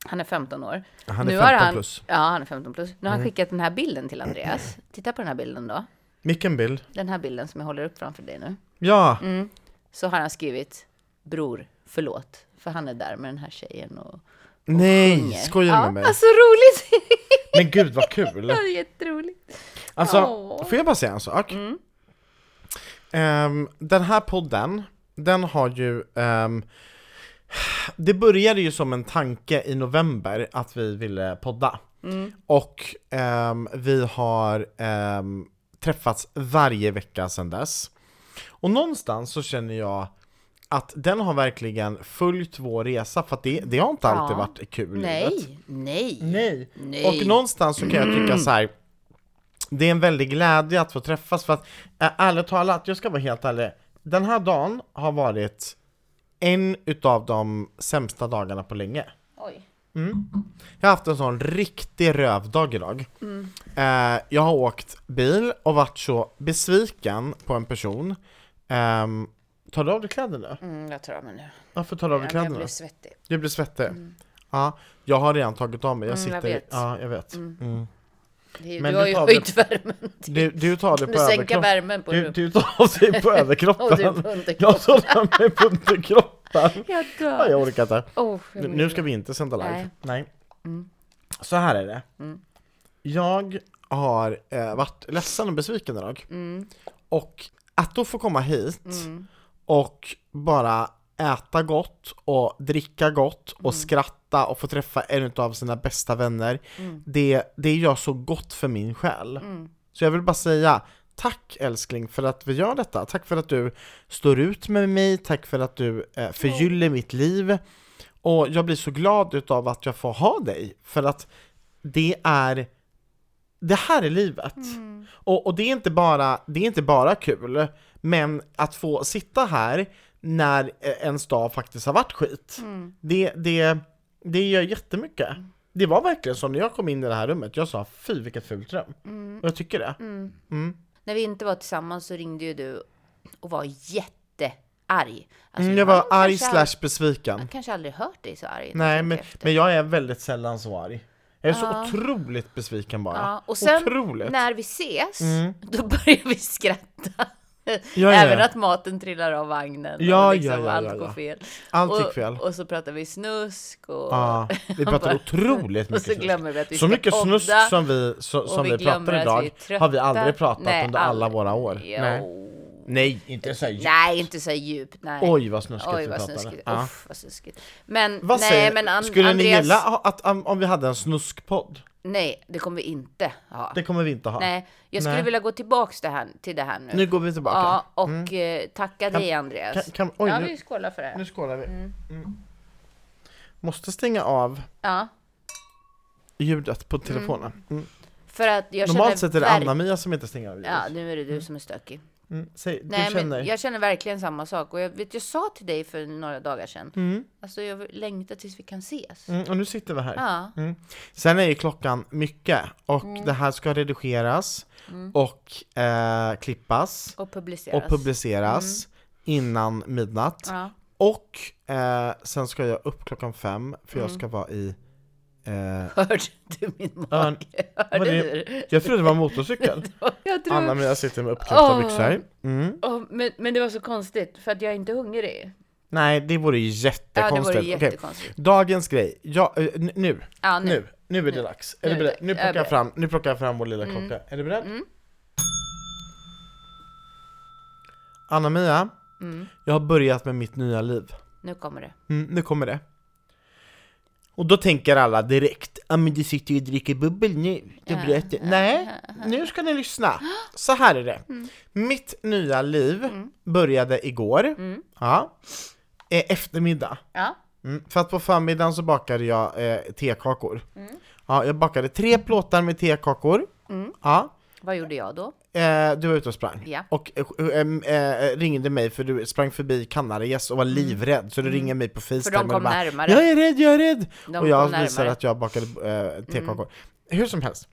Speaker 1: Han är 15 år.
Speaker 2: han är
Speaker 1: har
Speaker 2: 15
Speaker 1: han,
Speaker 2: plus. Mm.
Speaker 1: Ja, han är 15 plus. Nu har han skickat den här bilden till Andreas. Titta på den här bilden då.
Speaker 2: Vilken bild?
Speaker 1: Den här bilden som jag håller upp framför dig nu.
Speaker 2: Ja,
Speaker 1: Mm. så har han skrivit Bror, förlåt, för han är där med den här tjejen och
Speaker 2: nej,
Speaker 1: sjunger."
Speaker 2: skojar du
Speaker 1: ja,
Speaker 2: med mig?
Speaker 1: Alltså roligt!
Speaker 2: Men gud vad kul!
Speaker 1: Det är Jätteroligt.
Speaker 2: Alltså,
Speaker 1: Åh.
Speaker 2: får jag bara säga en sak?
Speaker 1: Mm.
Speaker 2: Ehm, den här podden, den har ju... ehm, det började ju som en tanke i november att vi ville podda.
Speaker 1: Mm.
Speaker 2: Och ehm, vi har ehm, träffats varje vecka sedan dess. Och någonstans så känner jag att den har verkligen följt vår resa, för att det, det har inte alltid
Speaker 1: Ja.
Speaker 2: varit kul i livet.
Speaker 1: Nej, nej,
Speaker 2: Nej.
Speaker 1: Nej.
Speaker 2: Och någonstans så kan jag tycka så här. Det är en väldig glädje att få träffas för att äh, ärligt talat, jag ska vara helt ärlig. Den här dagen har varit en utav de sämsta dagarna på länge.
Speaker 1: Oj.
Speaker 2: Jag har haft en sån riktig rövdag idag.
Speaker 1: Mm.
Speaker 2: Eh, jag har åkt bil och varit så besviken på en person. Ehm, tar du av dig kläderna?
Speaker 1: Mm, jag tar av mig nu.
Speaker 2: Varför tar du av dig
Speaker 1: Ja, men Jag
Speaker 2: kläderna?
Speaker 1: blir svettig.
Speaker 2: Du blir svettig? Ja, jag har redan tagit av mig. Jag
Speaker 1: Mm,
Speaker 2: sitter
Speaker 1: jag
Speaker 2: i-
Speaker 1: vet.
Speaker 2: Ja, jag vet. Mm.
Speaker 1: Det är ju-
Speaker 2: Men
Speaker 1: Du har
Speaker 2: du
Speaker 1: ju
Speaker 2: tar det-
Speaker 1: höjt värmen.
Speaker 2: Du, du tar det på
Speaker 1: Du sänker
Speaker 2: överkroppen.
Speaker 1: värmen på
Speaker 2: Du,
Speaker 1: rummet.
Speaker 2: du tar dig på
Speaker 1: Och du är
Speaker 2: överkroppen.
Speaker 1: på underkroppen.
Speaker 2: Jag tar den mig på underkroppen.
Speaker 1: Jag
Speaker 2: Ja,
Speaker 1: dör.
Speaker 2: jag orkar inte.
Speaker 1: Oh, jag
Speaker 2: Nu-
Speaker 1: mår
Speaker 2: Nu
Speaker 1: illa.
Speaker 2: ska vi inte sända live. Nej.
Speaker 1: Nej.
Speaker 2: Så här är det. Jag har eh, varit ledsen och besviken idag. Och att då få komma hit och bara äta gott och dricka gott och skratta och få träffa en av sina bästa vänner. Det, det gör så gott för min själ. Så jag vill bara säga Tack älskling för att vi gör detta. Tack för att du står ut med mig. Tack för att du eh, förgyller mitt liv. Och jag blir så glad utav att jag får ha dig. För att det är det här är livet.
Speaker 1: Mm.
Speaker 2: Och, och det, är inte bara, det är inte bara kul, men att få sitta här när eh, ens dag faktiskt har varit skit,
Speaker 1: Mm.
Speaker 2: det, det, det gör jättemycket. Det var verkligen som när jag kom in i det här rummet, jag sa fy vilket fult rum. Och jag tycker det. Mm.
Speaker 1: När vi inte var tillsammans så ringde ju du och var jättearg. Alltså,
Speaker 2: Mm, jag var
Speaker 1: har
Speaker 2: arg
Speaker 1: kanske
Speaker 2: slash besviken.
Speaker 1: Jag kanske aldrig hört dig så arg. när
Speaker 2: Nej
Speaker 1: jag
Speaker 2: men,
Speaker 1: tänker efter.
Speaker 2: men jag är väldigt sällan så arg. Jag är så otroligt besviken bara.
Speaker 1: Ja, och sen
Speaker 2: otroligt. Mm.
Speaker 1: när vi ses, då börjar vi skratta.
Speaker 2: ja,
Speaker 1: Även
Speaker 2: ja.
Speaker 1: att maten trillar av vagnen
Speaker 2: Ja,
Speaker 1: och liksom
Speaker 2: ja, ja, ja,
Speaker 1: allt går
Speaker 2: ja.
Speaker 1: fel.
Speaker 2: Allt gick
Speaker 1: och,
Speaker 2: fel.
Speaker 1: Och så pratar vi snusk och,
Speaker 2: Ja, vi pratar otroligt
Speaker 1: och
Speaker 2: mycket
Speaker 1: så
Speaker 2: snusk.
Speaker 1: glömmer vi att vi
Speaker 2: Så
Speaker 1: ska
Speaker 2: mycket snusk
Speaker 1: podda.
Speaker 2: som vi, så,
Speaker 1: och
Speaker 2: som vi,
Speaker 1: glömmer
Speaker 2: pratar
Speaker 1: att
Speaker 2: idag
Speaker 1: vi är trötta.
Speaker 2: har vi aldrig pratat
Speaker 1: Nej,
Speaker 2: under alla
Speaker 1: aldrig.
Speaker 2: våra år.
Speaker 1: Jo.
Speaker 2: Nej. Nej, inte så djupt.
Speaker 1: Nej, inte så djupt. Nej.
Speaker 2: Oj vad snuskigt
Speaker 1: Oj,
Speaker 2: vi
Speaker 1: vad
Speaker 2: pratade.
Speaker 1: snuskigt.
Speaker 2: Ja.
Speaker 1: Uff, vad snuskigt. Men,
Speaker 2: Vad
Speaker 1: nej,
Speaker 2: säger,
Speaker 1: men An-
Speaker 2: skulle ni
Speaker 1: Andreas,
Speaker 2: gilla att, om om vi hade en snuskpodd?
Speaker 1: Nej, det kommer vi inte ha.
Speaker 2: Det kommer vi inte ha.
Speaker 1: Nej, jag skulle
Speaker 2: Nej.
Speaker 1: vilja gå tillbaks det här, till det här nu.
Speaker 2: Nu går vi tillbaka. Mm.
Speaker 1: Ja, och eh, tacka dig Andreas.
Speaker 2: Kan, kan, oj,
Speaker 1: ja,
Speaker 2: nu,
Speaker 1: vi skålar för det här.
Speaker 2: nu skålar vi. Mm. Måste stänga av
Speaker 1: Ja,
Speaker 2: ljudet på telefonen. Mm.
Speaker 1: för att jag
Speaker 2: Normalt
Speaker 1: känner
Speaker 2: sett är det
Speaker 1: verk-
Speaker 2: Anna-Mia som inte stänger av ljudet.
Speaker 1: Ja, nu är det du som är stökig.
Speaker 2: Mm. Säg, du
Speaker 1: Nej,
Speaker 2: känner?
Speaker 1: men jag känner verkligen samma sak. Och jag, vet, jag sa till dig för några dagar sedan,
Speaker 2: Mm.
Speaker 1: alltså jag längtar tills vi kan ses.
Speaker 2: Mm, och nu sitter vi här.
Speaker 1: Ja,
Speaker 2: Mm. Sen är ju klockan mycket och det här ska redigeras och eh, klippas
Speaker 1: och publiceras.
Speaker 2: och publiceras innan midnatt.
Speaker 1: ja.
Speaker 2: Och eh, sen ska jag upp klockan fem för jag ska vara i... Eh,
Speaker 1: Hörde du min
Speaker 2: Ja,
Speaker 1: mage? Hörde
Speaker 2: det-
Speaker 1: du? det?
Speaker 2: jag trodde det var en motorcykel.
Speaker 1: Jag tror...
Speaker 2: Anna-Mia sitter med uppknäppta
Speaker 1: Åh.
Speaker 2: byxor. Mm.
Speaker 1: Åh, men, men det var så konstigt, för att jag är inte hungrig.
Speaker 2: Nej, det vore ju
Speaker 1: Ja, det
Speaker 2: jättekonstigt.
Speaker 1: vore
Speaker 2: Okej.
Speaker 1: jättekonstigt.
Speaker 2: Dagens grej. Ja, eh, n- nu.
Speaker 1: Ja, nu.
Speaker 2: Nu, nu är det dags.
Speaker 1: Nu
Speaker 2: Är du
Speaker 1: är det
Speaker 2: beredd?
Speaker 1: dags.
Speaker 2: Nu
Speaker 1: Jag är
Speaker 2: plockar jag
Speaker 1: beredd. Mm.
Speaker 2: fram, nu plockar jag fram vår lilla klocka. Är du beredd? Anna-Mia,
Speaker 1: Mm.
Speaker 2: jag har börjat med mitt nya liv.
Speaker 1: Nu kommer det.
Speaker 2: Mm, nu kommer det. Och då tänker alla direkt, ja men du sitter ju och dricker bubbel nu, du bröt det. Nej, nu ska ni lyssna. Så här är det. Mitt nya liv började igår, ja, eh, eftermiddag.
Speaker 1: Ja.
Speaker 2: Mm, för att på förmiddagen så bakade jag eh, tekakor. Ja, jag bakade tre plåtar med tekakor. Ja,
Speaker 1: Vad gjorde jag då?
Speaker 2: eh, du var ute och sprang.
Speaker 1: Ja.
Speaker 2: Och eh, em, eh, ringde mig för du sprang förbi Kanarias och var livrädd. Så du ringer mig på Facetime
Speaker 1: Mm. För de
Speaker 2: och
Speaker 1: kom
Speaker 2: bara,
Speaker 1: närmare.
Speaker 2: Jag är rädd, jag är rädd!
Speaker 1: De
Speaker 2: och jag
Speaker 1: kom
Speaker 2: visade
Speaker 1: närmare. Mm.
Speaker 2: att jag bakade eh, tekakor. Hur som helst.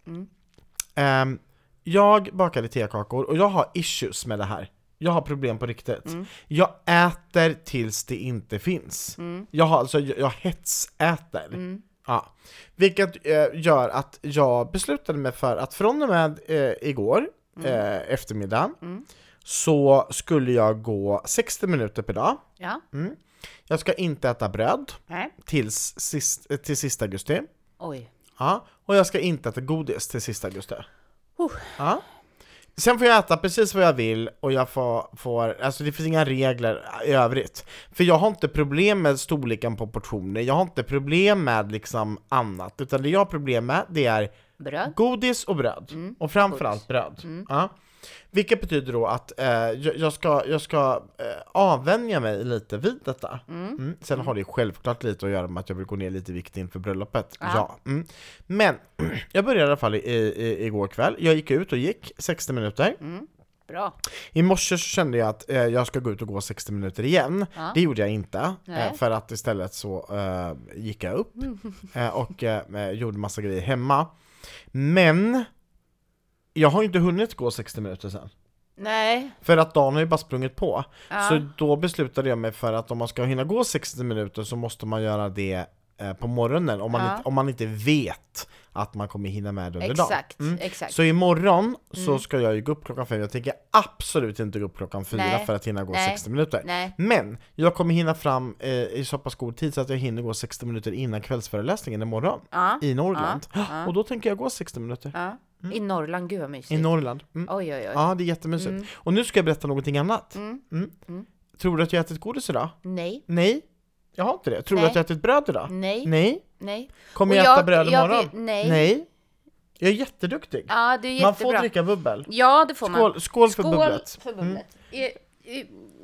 Speaker 2: Ehm, jag bakade tekakor och jag har issues med det här. Jag har problem på riktigt.
Speaker 1: Mm.
Speaker 2: Jag äter tills det inte finns.
Speaker 1: Mm.
Speaker 2: Jag, har, alltså, jag, jag hetsäter. Ja. Vilket eh, gör att jag beslutade mig för att från och med eh, igår
Speaker 1: Mm.
Speaker 2: eh, eftermiddag så skulle jag gå 60 minuter per dag.
Speaker 1: Ja.
Speaker 2: Mm. Jag ska inte äta bröd
Speaker 1: Nej.
Speaker 2: tills sist, eh, till sista augusti.
Speaker 1: Oj.
Speaker 2: Ja, och jag ska inte äta godis till sista augusti.
Speaker 1: Oh.
Speaker 2: Ja. Sen får jag äta precis vad jag vill och jag får, får, alltså det finns inga regler i övrigt. För jag har inte problem med storleken på portioner, jag har inte problem med liksom annat, utan det jag har problem med det är Mm.
Speaker 1: Bröd?
Speaker 2: godis och bröd. Mm, och framförallt bröd. Ja. Vilket betyder då att eh, jag, jag ska, jag ska eh, avvänja mig lite vid detta. Mm. Sen har det självklart lite att göra med att jag vill gå ner lite i vikt inför bröllopet. Ja. Mm. Men jag började i alla fall i, i, igår kväll. Jag gick ut och gick 60 minuter.
Speaker 1: Bra.
Speaker 2: I morse så kände jag att eh, jag ska gå ut och gå 60 minuter igen.
Speaker 1: Ja.
Speaker 2: Det gjorde jag inte,
Speaker 1: Nej. Mm.
Speaker 2: eh, för att istället så eh, gick jag upp eh, och eh, gjorde massa grejer hemma. Men jag har ju inte hunnit gå 60 minuter sen.
Speaker 1: Nej.
Speaker 2: För att dagen har ju bara sprungit på.
Speaker 1: Ja.
Speaker 2: Så då beslutade jag mig för att om man ska hinna gå 60 minuter så måste man göra det eh, på morgonen om man,
Speaker 1: Ja.
Speaker 2: inte, om man inte vet att man kommer hinna med det under dagen. Mm.
Speaker 1: Exakt. Exakt.
Speaker 2: Så imorgon
Speaker 1: Mm.
Speaker 2: så ska jag ju gå upp klockan fem, jag tänker absolut inte gå upp klockan fyra
Speaker 1: Nej.
Speaker 2: för att hinna gå
Speaker 1: Nej.
Speaker 2: 60 minuter.
Speaker 1: Nej.
Speaker 2: Men jag kommer hinna fram eh, i så pass god tid så att jag hinner gå 60 minuter innan kvällsföreläsningen imorgon
Speaker 1: Ja.
Speaker 2: i Norrland.
Speaker 1: ja.
Speaker 2: Och då tänker jag gå 60 minuter
Speaker 1: Ja. I Norrland, gud vad
Speaker 2: Mm. i
Speaker 1: mysigt.
Speaker 2: Norrland. Mm.
Speaker 1: Oj, oj, oj.
Speaker 2: Ja, det är jättemysigt.
Speaker 1: Mm.
Speaker 2: Och nu ska jag berätta någonting annat. Mm. Tror du att jag ätit godis idag?
Speaker 1: Nej.
Speaker 2: Nej, jag har inte det. Tror du
Speaker 1: Nej.
Speaker 2: att jag ätit bröd idag?
Speaker 1: Nej.
Speaker 2: Nej.
Speaker 1: Nej.
Speaker 2: Kommer
Speaker 1: Och
Speaker 2: jag, äta
Speaker 1: jag-
Speaker 2: bröd
Speaker 1: jag
Speaker 2: imorgon?
Speaker 1: vet- nej.
Speaker 2: Jag är jätteduktig.
Speaker 1: Ja, det är jättebra.
Speaker 2: Man får dricka bubbel.
Speaker 1: Ja, det får man.
Speaker 2: Skål, skål för bubblet. Mm.
Speaker 1: För bubblet. I-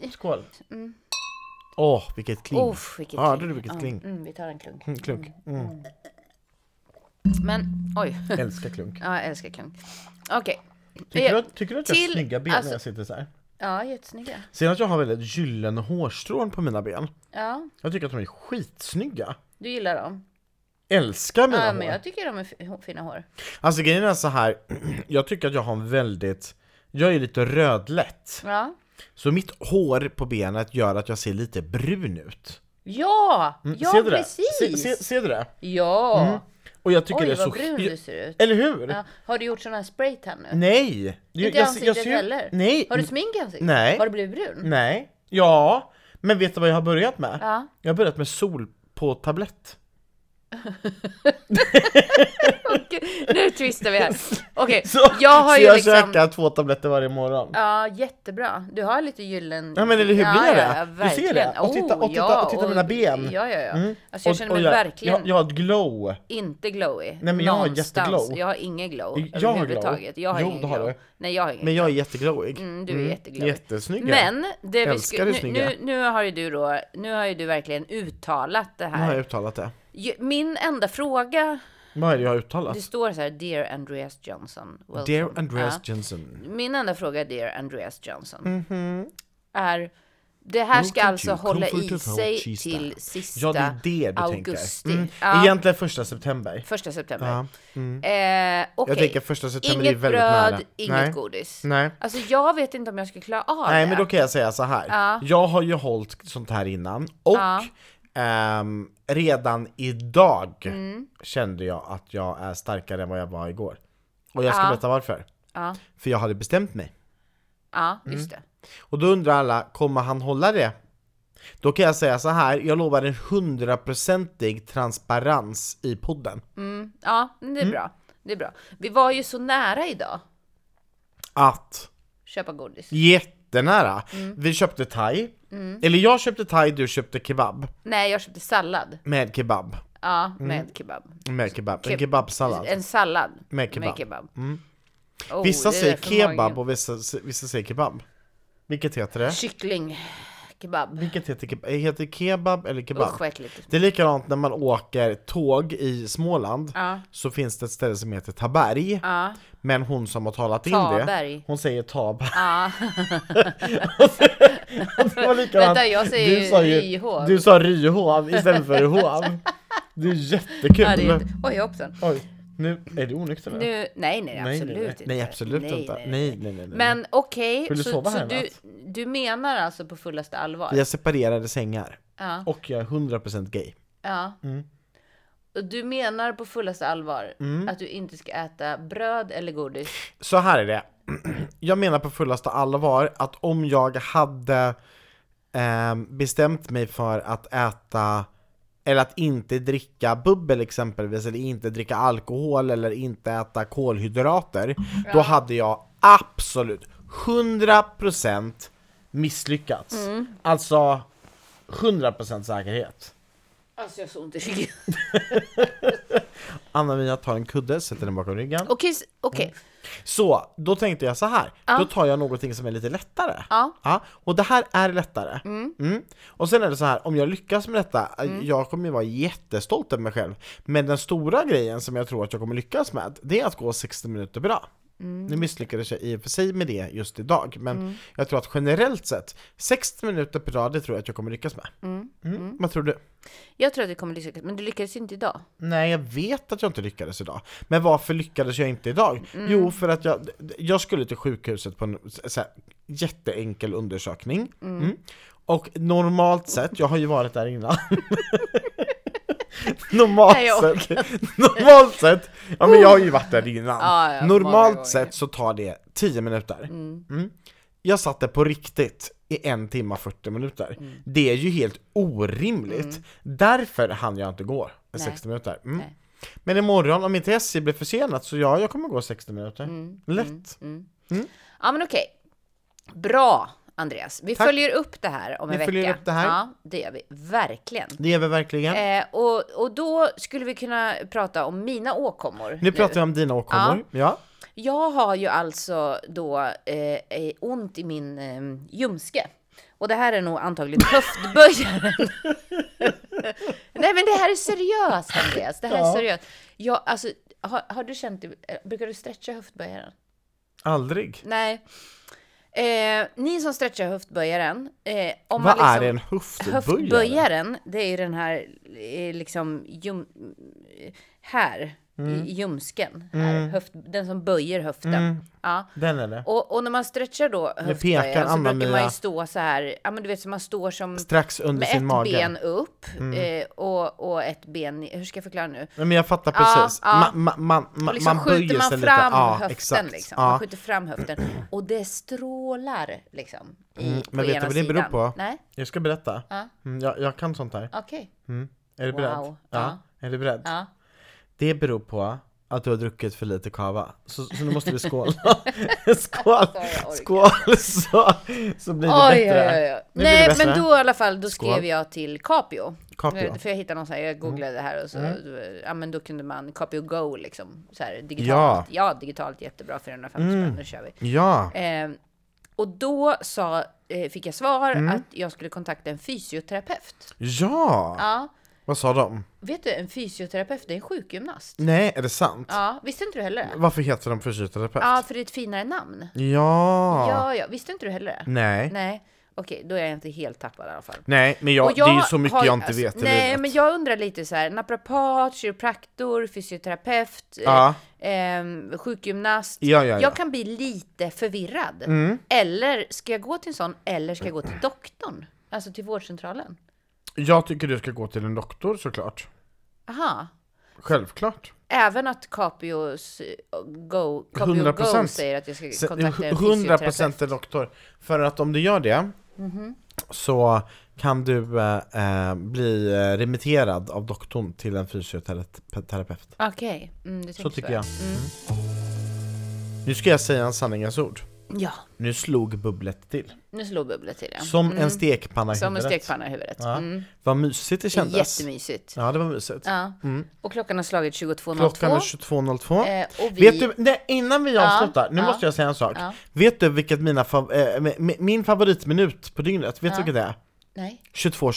Speaker 1: i-
Speaker 2: Skål. Åh, vilket kling.
Speaker 1: Mm. Uff, vilket
Speaker 2: Hörde du vilket
Speaker 1: Ja,
Speaker 2: kling?
Speaker 1: Mm, vi tar en klunk.
Speaker 2: Mm, klunk. Mm.
Speaker 1: Men, oj.
Speaker 2: Älskar klunk.
Speaker 1: Ja, jag älskar klunk. Okej.
Speaker 2: Tycker du,
Speaker 1: Eh,
Speaker 2: att- tycker du att jag har
Speaker 1: till-
Speaker 2: snygga ben när
Speaker 1: alltså-
Speaker 2: jag sitter så här?
Speaker 1: Ja, jättesnygga.
Speaker 2: Ser att jag har väldigt gyllene hårstrån på mina ben?
Speaker 1: Ja,
Speaker 2: Jag tycker att de är skitsnygga.
Speaker 1: du gillar dem.
Speaker 2: Älskar mina
Speaker 1: Ja,
Speaker 2: hår.
Speaker 1: men jag tycker de är fi- fina hår.
Speaker 2: Alltså grejen är så här. jag tycker att jag har en väldigt, jag är lite rödlätt.
Speaker 1: Ja.
Speaker 2: Så mitt hår på benet gör att jag ser lite brun ut.
Speaker 1: Ja!
Speaker 2: Mm,
Speaker 1: ja,
Speaker 2: ser du
Speaker 1: precis!
Speaker 2: Det? Se, se, ser du det?
Speaker 1: Ja!
Speaker 2: Och jag tycker
Speaker 1: Oj,
Speaker 2: det är
Speaker 1: vad
Speaker 2: så...
Speaker 1: brun
Speaker 2: jag-
Speaker 1: du ser ut.
Speaker 2: Eller hur?
Speaker 1: Ja. Har du gjort sån här spraytan nu?
Speaker 2: Nej! Jag-
Speaker 1: Inte i
Speaker 2: jag-
Speaker 1: ansiktet
Speaker 2: jag ser ju-
Speaker 1: heller?
Speaker 2: Nej!
Speaker 1: Har du smink i ansiktet?
Speaker 2: Nej. Mm.
Speaker 1: Har du blivit brun?
Speaker 2: Nej. Ja. Men vet du vad jag har börjat med?
Speaker 1: Ja.
Speaker 2: Jag har börjat med sol på tablett.
Speaker 1: Okej, nu twistar vi här. Okej,
Speaker 2: Så
Speaker 1: jag har
Speaker 2: så
Speaker 1: ju
Speaker 2: jag
Speaker 1: liksom...
Speaker 2: käkar två tabletter varje morgon.
Speaker 1: Ja, jättebra. Du har lite gyllen...
Speaker 2: Ja, men eller hur blir det? Du ser
Speaker 1: verkligen. Oh,
Speaker 2: det. Och titta- och titta-
Speaker 1: ja,
Speaker 2: och titta mina ben.
Speaker 1: Ja, ja, ja.
Speaker 2: Mm.
Speaker 1: Alltså jag
Speaker 2: Och-
Speaker 1: känner
Speaker 2: och
Speaker 1: mig verkligen
Speaker 2: Jag, jag har ett glow.
Speaker 1: inte glowy.
Speaker 2: Nej, men jag har
Speaker 1: någonstans.
Speaker 2: jätteglow.
Speaker 1: Jag har ingen glow
Speaker 2: Jag har glow.
Speaker 1: överhuvudtaget. Jag har
Speaker 2: Jo,
Speaker 1: ingen
Speaker 2: det har
Speaker 1: glow.
Speaker 2: du.
Speaker 1: Nej, jag har ingen
Speaker 2: Men jag är jätteglowig.
Speaker 1: Mm, du är jätteglowig.
Speaker 2: Jättesnygg.
Speaker 1: Men det vi
Speaker 2: Älskar
Speaker 1: sku-
Speaker 2: det
Speaker 1: nu,
Speaker 2: snygga.
Speaker 1: nu, nu har ju du då, nu har ju du verkligen uttalat det
Speaker 2: Nu har
Speaker 1: här.
Speaker 2: jag uttalat det.
Speaker 1: Ju- Min enda fråga,
Speaker 2: Vad är det jag har uttalat?
Speaker 1: det står så här Dear Andreas Johnson. Welcome."
Speaker 2: Alltså- Dear Andreas
Speaker 1: Ja.
Speaker 2: Jensen.
Speaker 1: Min enda fråga Dear Andreas Johnson
Speaker 2: Mhm.
Speaker 1: är det här
Speaker 2: Welcome
Speaker 1: ska alltså
Speaker 2: to
Speaker 1: hålla
Speaker 2: Comfort
Speaker 1: i
Speaker 2: of Hope
Speaker 1: sig
Speaker 2: Cheese
Speaker 1: till
Speaker 2: Day.
Speaker 1: sista
Speaker 2: Ja, det är det du
Speaker 1: augusti.
Speaker 2: tänker. Mm.
Speaker 1: Ja,
Speaker 2: Egentligen första september.
Speaker 1: första september.
Speaker 2: Ja. mm.
Speaker 1: Eh, okej.
Speaker 2: Jag tänker första september är
Speaker 1: Inget
Speaker 2: väldigt
Speaker 1: bröd,
Speaker 2: nära.
Speaker 1: inget
Speaker 2: Nej.
Speaker 1: godis.
Speaker 2: Nej.
Speaker 1: Alltså jag vet inte om jag ska klara av
Speaker 2: Nej
Speaker 1: det.
Speaker 2: men då kan jag säga så här.
Speaker 1: Ja.
Speaker 2: jag har ju hållit sånt här innan och
Speaker 1: Ja.
Speaker 2: ehm, redan idag
Speaker 1: Mm.
Speaker 2: kände jag att jag är starkare än vad jag var igår. Och jag ska
Speaker 1: Ja.
Speaker 2: berätta varför.
Speaker 1: Ja,
Speaker 2: För jag hade bestämt mig.
Speaker 1: ja
Speaker 2: Mm.
Speaker 1: just det.
Speaker 2: Och då undrar alla, kommer han hålla det? Då kan jag säga så här, jag lovar en hundraprocentig transparens i podden.
Speaker 1: Mm, ja, men det är bra. Det är bra. Vi var ju så nära idag,
Speaker 2: Att
Speaker 1: köpa godis.
Speaker 2: Jättenära!
Speaker 1: Mm.
Speaker 2: Vi köpte thai, eller jag köpte thai, du köpte kebab.
Speaker 1: Nej, jag köpte sallad.
Speaker 2: Med kebab.
Speaker 1: Ja,
Speaker 2: Mm.
Speaker 1: med kebab.
Speaker 2: Med kebab. En
Speaker 1: Ke-
Speaker 2: kebabsallad.
Speaker 1: En sallad.
Speaker 2: Med kebab. Mm.
Speaker 1: Oh,
Speaker 2: Vissa
Speaker 1: det är
Speaker 2: säger
Speaker 1: för
Speaker 2: kebab
Speaker 1: magen.
Speaker 2: och vissa, vissa säger kebab. Vilket heter det?
Speaker 1: Kyckling. Kebab.
Speaker 2: Vilket heter kebab? Heter det kebab eller kebab?
Speaker 1: Usch vad äckligt.
Speaker 2: Det är likadant när man åker tåg i Småland
Speaker 1: Ja.
Speaker 2: Så finns det ett ställe som heter Taberg
Speaker 1: Ja.
Speaker 2: Men hon som har talat in det
Speaker 1: Taberg.
Speaker 2: Hon säger Taberg
Speaker 1: Ja.
Speaker 2: Det var likadant.
Speaker 1: Vänta, jag säger
Speaker 2: du sa ju,
Speaker 1: Ryhov.
Speaker 2: Du sa Ryhov istället för Ryhov Det är jättekul!
Speaker 1: Ja, det är inte... Oj, hoppsan.
Speaker 2: Oj, nu är du onykter nu?
Speaker 1: Nu... Nej, nej, nej,
Speaker 2: nej,
Speaker 1: absolut
Speaker 2: nej, nej.
Speaker 1: inte.
Speaker 2: Nej absolut inte, nej nej nej, nej.
Speaker 1: Men okej,
Speaker 2: Vill du
Speaker 1: så,
Speaker 2: sova
Speaker 1: så
Speaker 2: här en
Speaker 1: du,
Speaker 2: natt?
Speaker 1: du menar alltså på fullaste allvar?
Speaker 2: Vi har separerade sängar
Speaker 1: Ja.
Speaker 2: Och jag är 100% gay
Speaker 1: ja.
Speaker 2: Mm.
Speaker 1: Och du menar på fullaste allvar
Speaker 2: Mm.
Speaker 1: att du inte ska äta bröd eller godis?
Speaker 2: Så här är det. Jag menar på fullaste allvar att om jag hade ehm, bestämt mig för att äta eller att inte dricka bubbel exempelvis, eller inte dricka alkohol eller inte äta kolhydrater, då hade jag absolut 100% misslyckats. Alltså 100% säkerhet.
Speaker 1: Alltså jag har så ont i ryggen.
Speaker 2: Anna-Mia tar en kudde, sätter den bakom ryggen.
Speaker 1: Okej, s- okej.
Speaker 2: Mm. Så, då tänkte jag så här. då tar jag någonting som är lite lättare.
Speaker 1: Ja.
Speaker 2: och det här är lättare. Mm. Och sen är det så här, om jag lyckas med detta, jag kommer ju vara jättestolt över mig själv. Men den stora grejen som jag tror att jag kommer lyckas med, det är att gå 60 minuter bra. Nu misslyckades jag i och för sig med det just idag, men jag tror att generellt sett, 60 minuter per dag, det tror jag att jag kommer lyckas med. Mm. Vad tror du?
Speaker 1: Jag tror att du kommer lyckas, men du lyckades ju inte idag.
Speaker 2: Nej, jag vet att jag inte lyckades idag. Men varför lyckades jag inte idag?
Speaker 1: Mm.
Speaker 2: Jo, för att jag, jag skulle till sjukhuset på en så här, jätteenkel undersökning. Mm. Och normalt sett, jag har ju varit där innan. normalt
Speaker 1: Nej, jag orkar
Speaker 2: sett, normalt sett, ja men jag har ju varit där innan.
Speaker 1: Ja, ja, många gånger.
Speaker 2: normalt sett så tar det 10 minuter. Mm. Jag satt där på riktigt i en timme och 40 minuter.
Speaker 1: Mm.
Speaker 2: Det är ju helt orimligt. Därför hann jag inte gå
Speaker 1: Nej.
Speaker 2: 60 minuter. Mm.
Speaker 1: Nej.
Speaker 2: Men imorgon, om inte SJ blir försenat, så ja,
Speaker 1: Mm.
Speaker 2: jag kommer gå 60 minuter. Lätt.
Speaker 1: Ja men okej. Bra Andreas. Vi
Speaker 2: Tack.
Speaker 1: följer upp det här om
Speaker 2: Vi
Speaker 1: en vecka.
Speaker 2: följer upp det här.
Speaker 1: Ja, det gör vi. Verkligen.
Speaker 2: Det gör vi verkligen.
Speaker 1: Eh, och, och då skulle vi kunna prata om mina åkommor.
Speaker 2: nu pratar vi om dina åkommor. Ja.
Speaker 1: Jag har ju alltså då eh, eh, ont i min eh, ljumske. Och det här är nog antagligen höftböjaren. Nej men det här är seriöst Andreas. Det här
Speaker 2: Ja.
Speaker 1: är seriöst. Jag, alltså, har, har du känt, eh, brukar du stretcha höftböjaren?
Speaker 2: Aldrig.
Speaker 1: Nej. Eh, ni som stretchar höftböjaren. Eh, om
Speaker 2: Vad
Speaker 1: man
Speaker 2: är
Speaker 1: liksom,
Speaker 2: en höftböjare?
Speaker 1: Höftböjaren, det är ju den här eh, liksom ljum, här
Speaker 2: Mm.
Speaker 1: i ljumsken. Här, höft, den som böjer höften. Ja.
Speaker 2: Den är det.
Speaker 1: Och, och när man stretchar då
Speaker 2: pekar
Speaker 1: höftböjaren så brukar man
Speaker 2: Anna-Mia.
Speaker 1: ju stå så här, ja men du vet som man står som
Speaker 2: Strax under
Speaker 1: med
Speaker 2: sin
Speaker 1: ett
Speaker 2: mage. Mm.
Speaker 1: ben upp eh, och, och ett ben, i- hur ska jag förklara nu?
Speaker 2: Nej, men jag fattar
Speaker 1: Ja,
Speaker 2: precis.
Speaker 1: ja.
Speaker 2: Ma- ma- man- ma-
Speaker 1: Och liksom
Speaker 2: man böjer sig
Speaker 1: skjuter man fram
Speaker 2: lite. Ja,
Speaker 1: höften
Speaker 2: exakt.
Speaker 1: liksom.
Speaker 2: Ja.
Speaker 1: Man skjuter fram höften och det strålar liksom. I, på
Speaker 2: Mm, Men vet du
Speaker 1: ena
Speaker 2: vad det beror
Speaker 1: sidan.
Speaker 2: på?
Speaker 1: Nej,
Speaker 2: Jag ska berätta.
Speaker 1: Ja.
Speaker 2: Mm, jag, jag kan sånt här.
Speaker 1: okej.
Speaker 2: Mm. Är du
Speaker 1: Wow.
Speaker 2: beredd?
Speaker 1: Ja.
Speaker 2: Är du beredd?
Speaker 1: Ja.
Speaker 2: Det beror på att du har druckit för lite kava. Så, så nu måste vi skåla. Skål!
Speaker 1: jag orkar.
Speaker 2: Skål! Så, så blir det
Speaker 1: Oj, oj,
Speaker 2: bättre.
Speaker 1: oj, oj.
Speaker 2: Nu blir det
Speaker 1: Nej,
Speaker 2: bättre.
Speaker 1: men då i alla fall, då skrev
Speaker 2: Skål.
Speaker 1: jag till Capio.
Speaker 2: Capio. Mm.
Speaker 1: För jag hittade någon så här, jag googlade det här och så, ja men då kunde man Capio Go liksom, så här digitalt. Ja, digitalt jättebra, 450
Speaker 2: Mm.
Speaker 1: spänn, nu kör vi.
Speaker 2: Ja,
Speaker 1: Eh, och då sa, eh, fick jag svar
Speaker 2: Mm.
Speaker 1: att jag skulle kontakta en fysioterapeut.
Speaker 2: ja!
Speaker 1: Ja,
Speaker 2: Vad sa de?
Speaker 1: vet du, en fysioterapeut, det är en sjukgymnast.
Speaker 2: Nej, är det sant?
Speaker 1: Ja, visste inte du heller det?
Speaker 2: Varför heter de fysioterapeut?
Speaker 1: Ja, för det är ett finare namn.
Speaker 2: Ja.
Speaker 1: Ja, ja, visste inte du heller det?
Speaker 2: Nej. nej.
Speaker 1: Nej, okej, då är jag inte helt tappad i alla fall.
Speaker 2: men jag,
Speaker 1: Och
Speaker 2: det är ju så mycket
Speaker 1: har-
Speaker 2: jag inte
Speaker 1: alltså,
Speaker 2: vet i
Speaker 1: Nej,
Speaker 2: livet.
Speaker 1: men jag undrar lite så här, naprapat, kiropraktor, fysioterapeut, eh,
Speaker 2: Ja.
Speaker 1: ehm, sjukgymnast.
Speaker 2: Ja, ja, Mm. ja.
Speaker 1: Jag kan bli lite förvirrad. Eller ska jag gå till en sån, eller ska jag gå till doktorn? Alltså till vårdcentralen?
Speaker 2: Jag tycker du ska gå till en doktor såklart.
Speaker 1: Aha.
Speaker 2: Självklart.
Speaker 1: Även att Capios eh, Go, Capio
Speaker 2: 100%.
Speaker 1: Go säger att jag ska
Speaker 2: Sen-
Speaker 1: Eh, kontakta en
Speaker 2: 100%
Speaker 1: fysioterapeut.
Speaker 2: en doktor. För att om du gör det
Speaker 1: Mhm.
Speaker 2: så kan du eh, eh, bli eh, remitterad av doktorn till en fysioterapeut.
Speaker 1: Okej, mm, du
Speaker 2: Så
Speaker 1: tänker
Speaker 2: tycker jag. Mm. Nu ska jag säga en sanningens ord.
Speaker 1: Ja,
Speaker 2: Nu slog bubblet till.
Speaker 1: nu slog bubblet till det.
Speaker 2: Som en stekpanna i
Speaker 1: Mm. Som en
Speaker 2: huvudet.
Speaker 1: stekpanna i huvudet.
Speaker 2: Ja.
Speaker 1: Mm.
Speaker 2: Vad mysigt det kändes.
Speaker 1: Jättemysigt.
Speaker 2: Ja, det var mysigt.
Speaker 1: Ja. Och klockan har slagit 22.02.
Speaker 2: Mm. Klockan är 22.02.
Speaker 1: Eh, och vi-
Speaker 2: Vet du, nej, innan vi avslutar, nu
Speaker 1: ja.
Speaker 2: måste jag säga en sak.
Speaker 1: Ja.
Speaker 2: Vet du vilket mina fav, eh, mi- mi- min favoritminut på dygnet, vet du vilket det är?
Speaker 1: Nej,
Speaker 2: 22.22.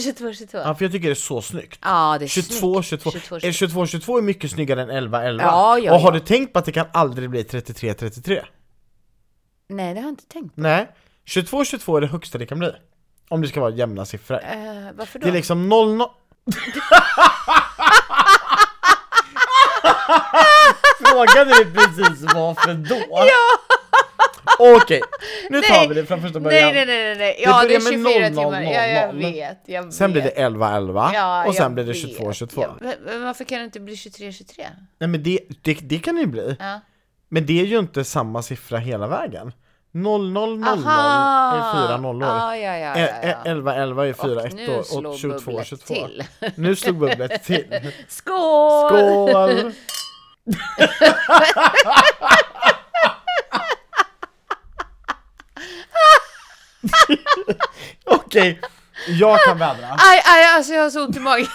Speaker 1: 22, 22.
Speaker 2: Ja, för jag tycker det är så snyggt.
Speaker 1: Ja, det är
Speaker 2: 22,
Speaker 1: snyggt.
Speaker 2: 22.
Speaker 1: 22,
Speaker 2: 22, 22. 22 är mycket snyggare än 11, 11.
Speaker 1: Ja, ja,
Speaker 2: och har
Speaker 1: ja.
Speaker 2: du tänkt på att det kan aldrig bli 33, 33?
Speaker 1: Nej, det har jag inte tänkt.
Speaker 2: Nej. 22, 22 är det högsta det kan bli. Om det ska vara jämna siffror.
Speaker 1: Eh, varför då?
Speaker 2: Det är liksom 0, 0... Frågan är precis varför då? Ja! Okej, nu tar vi det från första
Speaker 1: nej,
Speaker 2: början.
Speaker 1: nej, nej, nej, nej. Ja, det,
Speaker 2: börjar
Speaker 1: är
Speaker 2: med
Speaker 1: 24
Speaker 2: 00,
Speaker 1: timmar. Ja, jag
Speaker 2: 00.
Speaker 1: vet. Jag
Speaker 2: Sen blir
Speaker 1: vet.
Speaker 2: det 11, 11
Speaker 1: Ja,
Speaker 2: och sen
Speaker 1: jag
Speaker 2: blir det
Speaker 1: vet.
Speaker 2: 22, 22.
Speaker 1: Ja, men- men varför kan det inte bli 23, 23?
Speaker 2: Nej men det, det, det kan det ju bli.
Speaker 1: Ja.
Speaker 2: Men det är ju inte samma siffra hela vägen. 0000 är
Speaker 1: Aha.
Speaker 2: fyra nollor. E,
Speaker 1: Ja, ja, ja, ja,
Speaker 2: Ä- ä-
Speaker 1: ja.
Speaker 2: 11, 11 är fyra
Speaker 1: Och nu
Speaker 2: ettor och
Speaker 1: slog
Speaker 2: 22,
Speaker 1: bubblet
Speaker 2: 22.
Speaker 1: till.
Speaker 2: Nu slog bubblet till.
Speaker 1: Skål!
Speaker 2: Skål! Okej, jag kan vädra.
Speaker 1: Aj, aj, alltså jag har så ont i magen.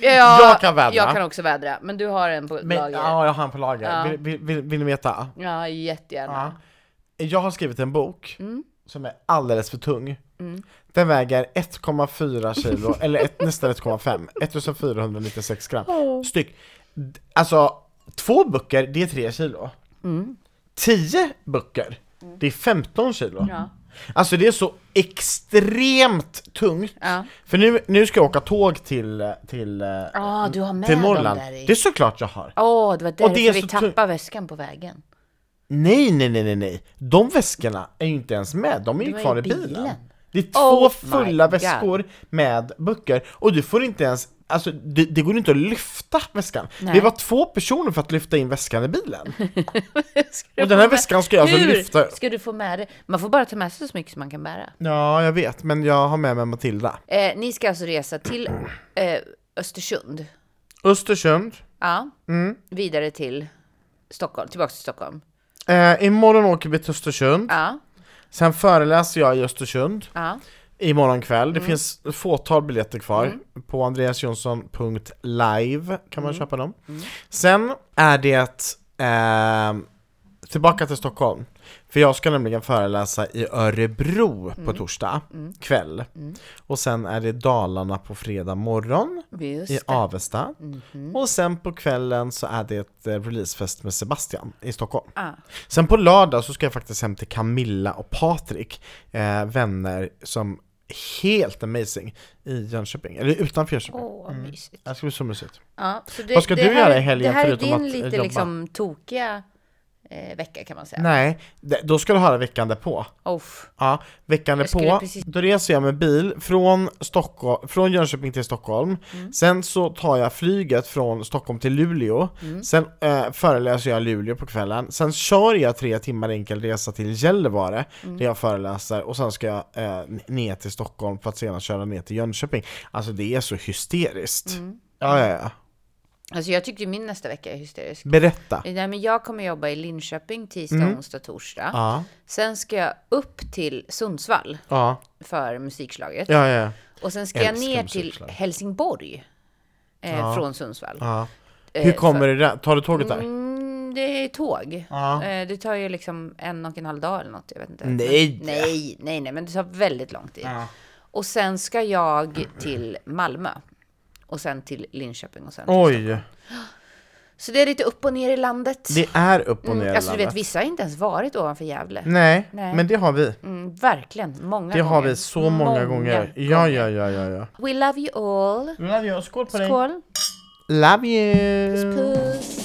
Speaker 1: ja,
Speaker 2: Jag kan vädra.
Speaker 1: Jag kan också vädra, men du har en på
Speaker 2: Men,
Speaker 1: lager.
Speaker 2: ja, jag har en på lager.
Speaker 1: Ja.
Speaker 2: Vill, vill, vill, vill ni veta?
Speaker 1: Ja, jättegärna.
Speaker 2: Ja. Jag har skrivit en bok
Speaker 1: Mm.
Speaker 2: som är alldeles för tung. Den väger 1,4 kilo, eller ett, nästan 1,5. 1496 gram styck. D- Alltså, två böcker, det är 3 kilo.
Speaker 1: Mm.
Speaker 2: 10 böcker, det är 15 kilo.
Speaker 1: Ja.
Speaker 2: Alltså det är så extremt tungt.
Speaker 1: Ja.
Speaker 2: För nu, nu ska jag åka tåg till, till, eh,
Speaker 1: Ah, du har med
Speaker 2: till
Speaker 1: dem
Speaker 2: Norrland.
Speaker 1: där i.
Speaker 2: Det är såklart jag har.
Speaker 1: Åh, det var
Speaker 2: är
Speaker 1: därför vi
Speaker 2: så tungt.
Speaker 1: tappade väskan på vägen.
Speaker 2: Nej, nej, nej, nej, nej. De väskorna är ju inte ens med, de är ju
Speaker 1: var
Speaker 2: kvar
Speaker 1: i
Speaker 2: i bilen.
Speaker 1: bilen.
Speaker 2: Det är två
Speaker 1: Oh
Speaker 2: fulla
Speaker 1: my God.
Speaker 2: väskor med böcker och du får inte ens, alltså det, det går inte att lyfta väskan.
Speaker 1: Nej.
Speaker 2: Det var två personer för att lyfta in väskan i bilen. Och den här väskan ska jag alltså
Speaker 1: Hur
Speaker 2: lyfta.
Speaker 1: ska du få med det? Man får bara ta med sig så mycket som man kan bära.
Speaker 2: Ja, jag vet, men jag har med mig Matilda.
Speaker 1: Eh, ni ska alltså resa till eh, Östersund.
Speaker 2: Östersund, Mm.
Speaker 1: Ja. Vidare till Stockholm, tillbaka till Stockholm.
Speaker 2: Eh, imorgon åker vi till Östersund.
Speaker 1: Ja,
Speaker 2: Sen föreläser jag i Östersund
Speaker 1: ja.
Speaker 2: imorgon kväll. Det finns ett fåtal biljetter kvar. På andreasjonsson.live kan man köpa dem. Sen är det eh, tillbaka till Stockholm. För jag ska nämligen föreläsa i Örebro på torsdag kväll. Och sen är det Dalarna på fredag morgon
Speaker 1: Just
Speaker 2: i
Speaker 1: det.
Speaker 2: Avesta.
Speaker 1: Mhm.
Speaker 2: Och sen på kvällen så är det ett eh, releasefest med Sebastian i Stockholm.
Speaker 1: Ah.
Speaker 2: Sen på lördag så ska jag faktiskt hem till Camilla och Patrik, eh, vänner som är helt amazing i Jönköping, eller utanför Jönköping.
Speaker 1: Åh, vad mysigt.
Speaker 2: Det ska bli så mysigt.
Speaker 1: Ja, så det,
Speaker 2: Vad ska
Speaker 1: det
Speaker 2: du
Speaker 1: här,
Speaker 2: göra i helgen
Speaker 1: Det här är
Speaker 2: förutom
Speaker 1: din
Speaker 2: att
Speaker 1: lite
Speaker 2: jobba?
Speaker 1: liksom tokiga eh, vecka kan man säga.
Speaker 2: Nej, det- då ska du höra veckan därpå.
Speaker 1: Uff.
Speaker 2: Ja, veckan
Speaker 1: Jag skulle
Speaker 2: därpå,
Speaker 1: precis-
Speaker 2: då reser jag med bil från, Stockholm, från Jönköping till Stockholm,
Speaker 1: Mm.
Speaker 2: sen så tar jag flyget från Stockholm till Luleå,
Speaker 1: Mm.
Speaker 2: sen eh, föreläser jag i Luleå på kvällen, sen kör jag tre timmar enkel resa till Gällivare
Speaker 1: Mm.
Speaker 2: där jag föreläser och sen ska jag eh, n- ner till Stockholm för att sedan köra ner till Jönköping. Alltså det är så hysteriskt.
Speaker 1: Mm.
Speaker 2: Ja, ja, ja.
Speaker 1: Alltså jag tyckte ju min nästa vecka är hysterisk.
Speaker 2: Berätta.
Speaker 1: Nej, men jag kommer jobba i Linköping tisdag, onsdag, torsdag.
Speaker 2: Mm. Ja,
Speaker 1: Sen ska jag upp till Sundsvall
Speaker 2: ja,
Speaker 1: för musikslaget.
Speaker 2: ja, ja.
Speaker 1: Och sen ska jag
Speaker 2: Älskar
Speaker 1: ner till
Speaker 2: musikslag.
Speaker 1: Helsingborg eh, från Sundsvall.
Speaker 2: ja. Hur kommer det där? Tar du tåget där?
Speaker 1: Eh, Mm, det är tåg.
Speaker 2: Ja.
Speaker 1: Eh, Det tar ju liksom en och en halv dag eller något. Jag vet inte.
Speaker 2: Nej.
Speaker 1: Men, nej, nej, nej, men det tar väldigt lång tid. Och sen ska jag till Malmö. Och sen till Linköping och sen till Stockholm.
Speaker 2: Oj,
Speaker 1: Så det är lite upp och ner i landet.
Speaker 2: det är upp och ner i
Speaker 1: mm, alltså du
Speaker 2: landet.
Speaker 1: vet, vissa har inte ens varit ovanför Gävle.
Speaker 2: Nej,
Speaker 1: Nej.
Speaker 2: men det har vi.
Speaker 1: Mm, verkligen, många
Speaker 2: Det
Speaker 1: gånger.
Speaker 2: har vi så många, gånger. Ja, ja, ja, ja, ja.
Speaker 1: We love you all.
Speaker 2: Love you, skål på
Speaker 1: Skål.
Speaker 2: Love you!
Speaker 1: Puss.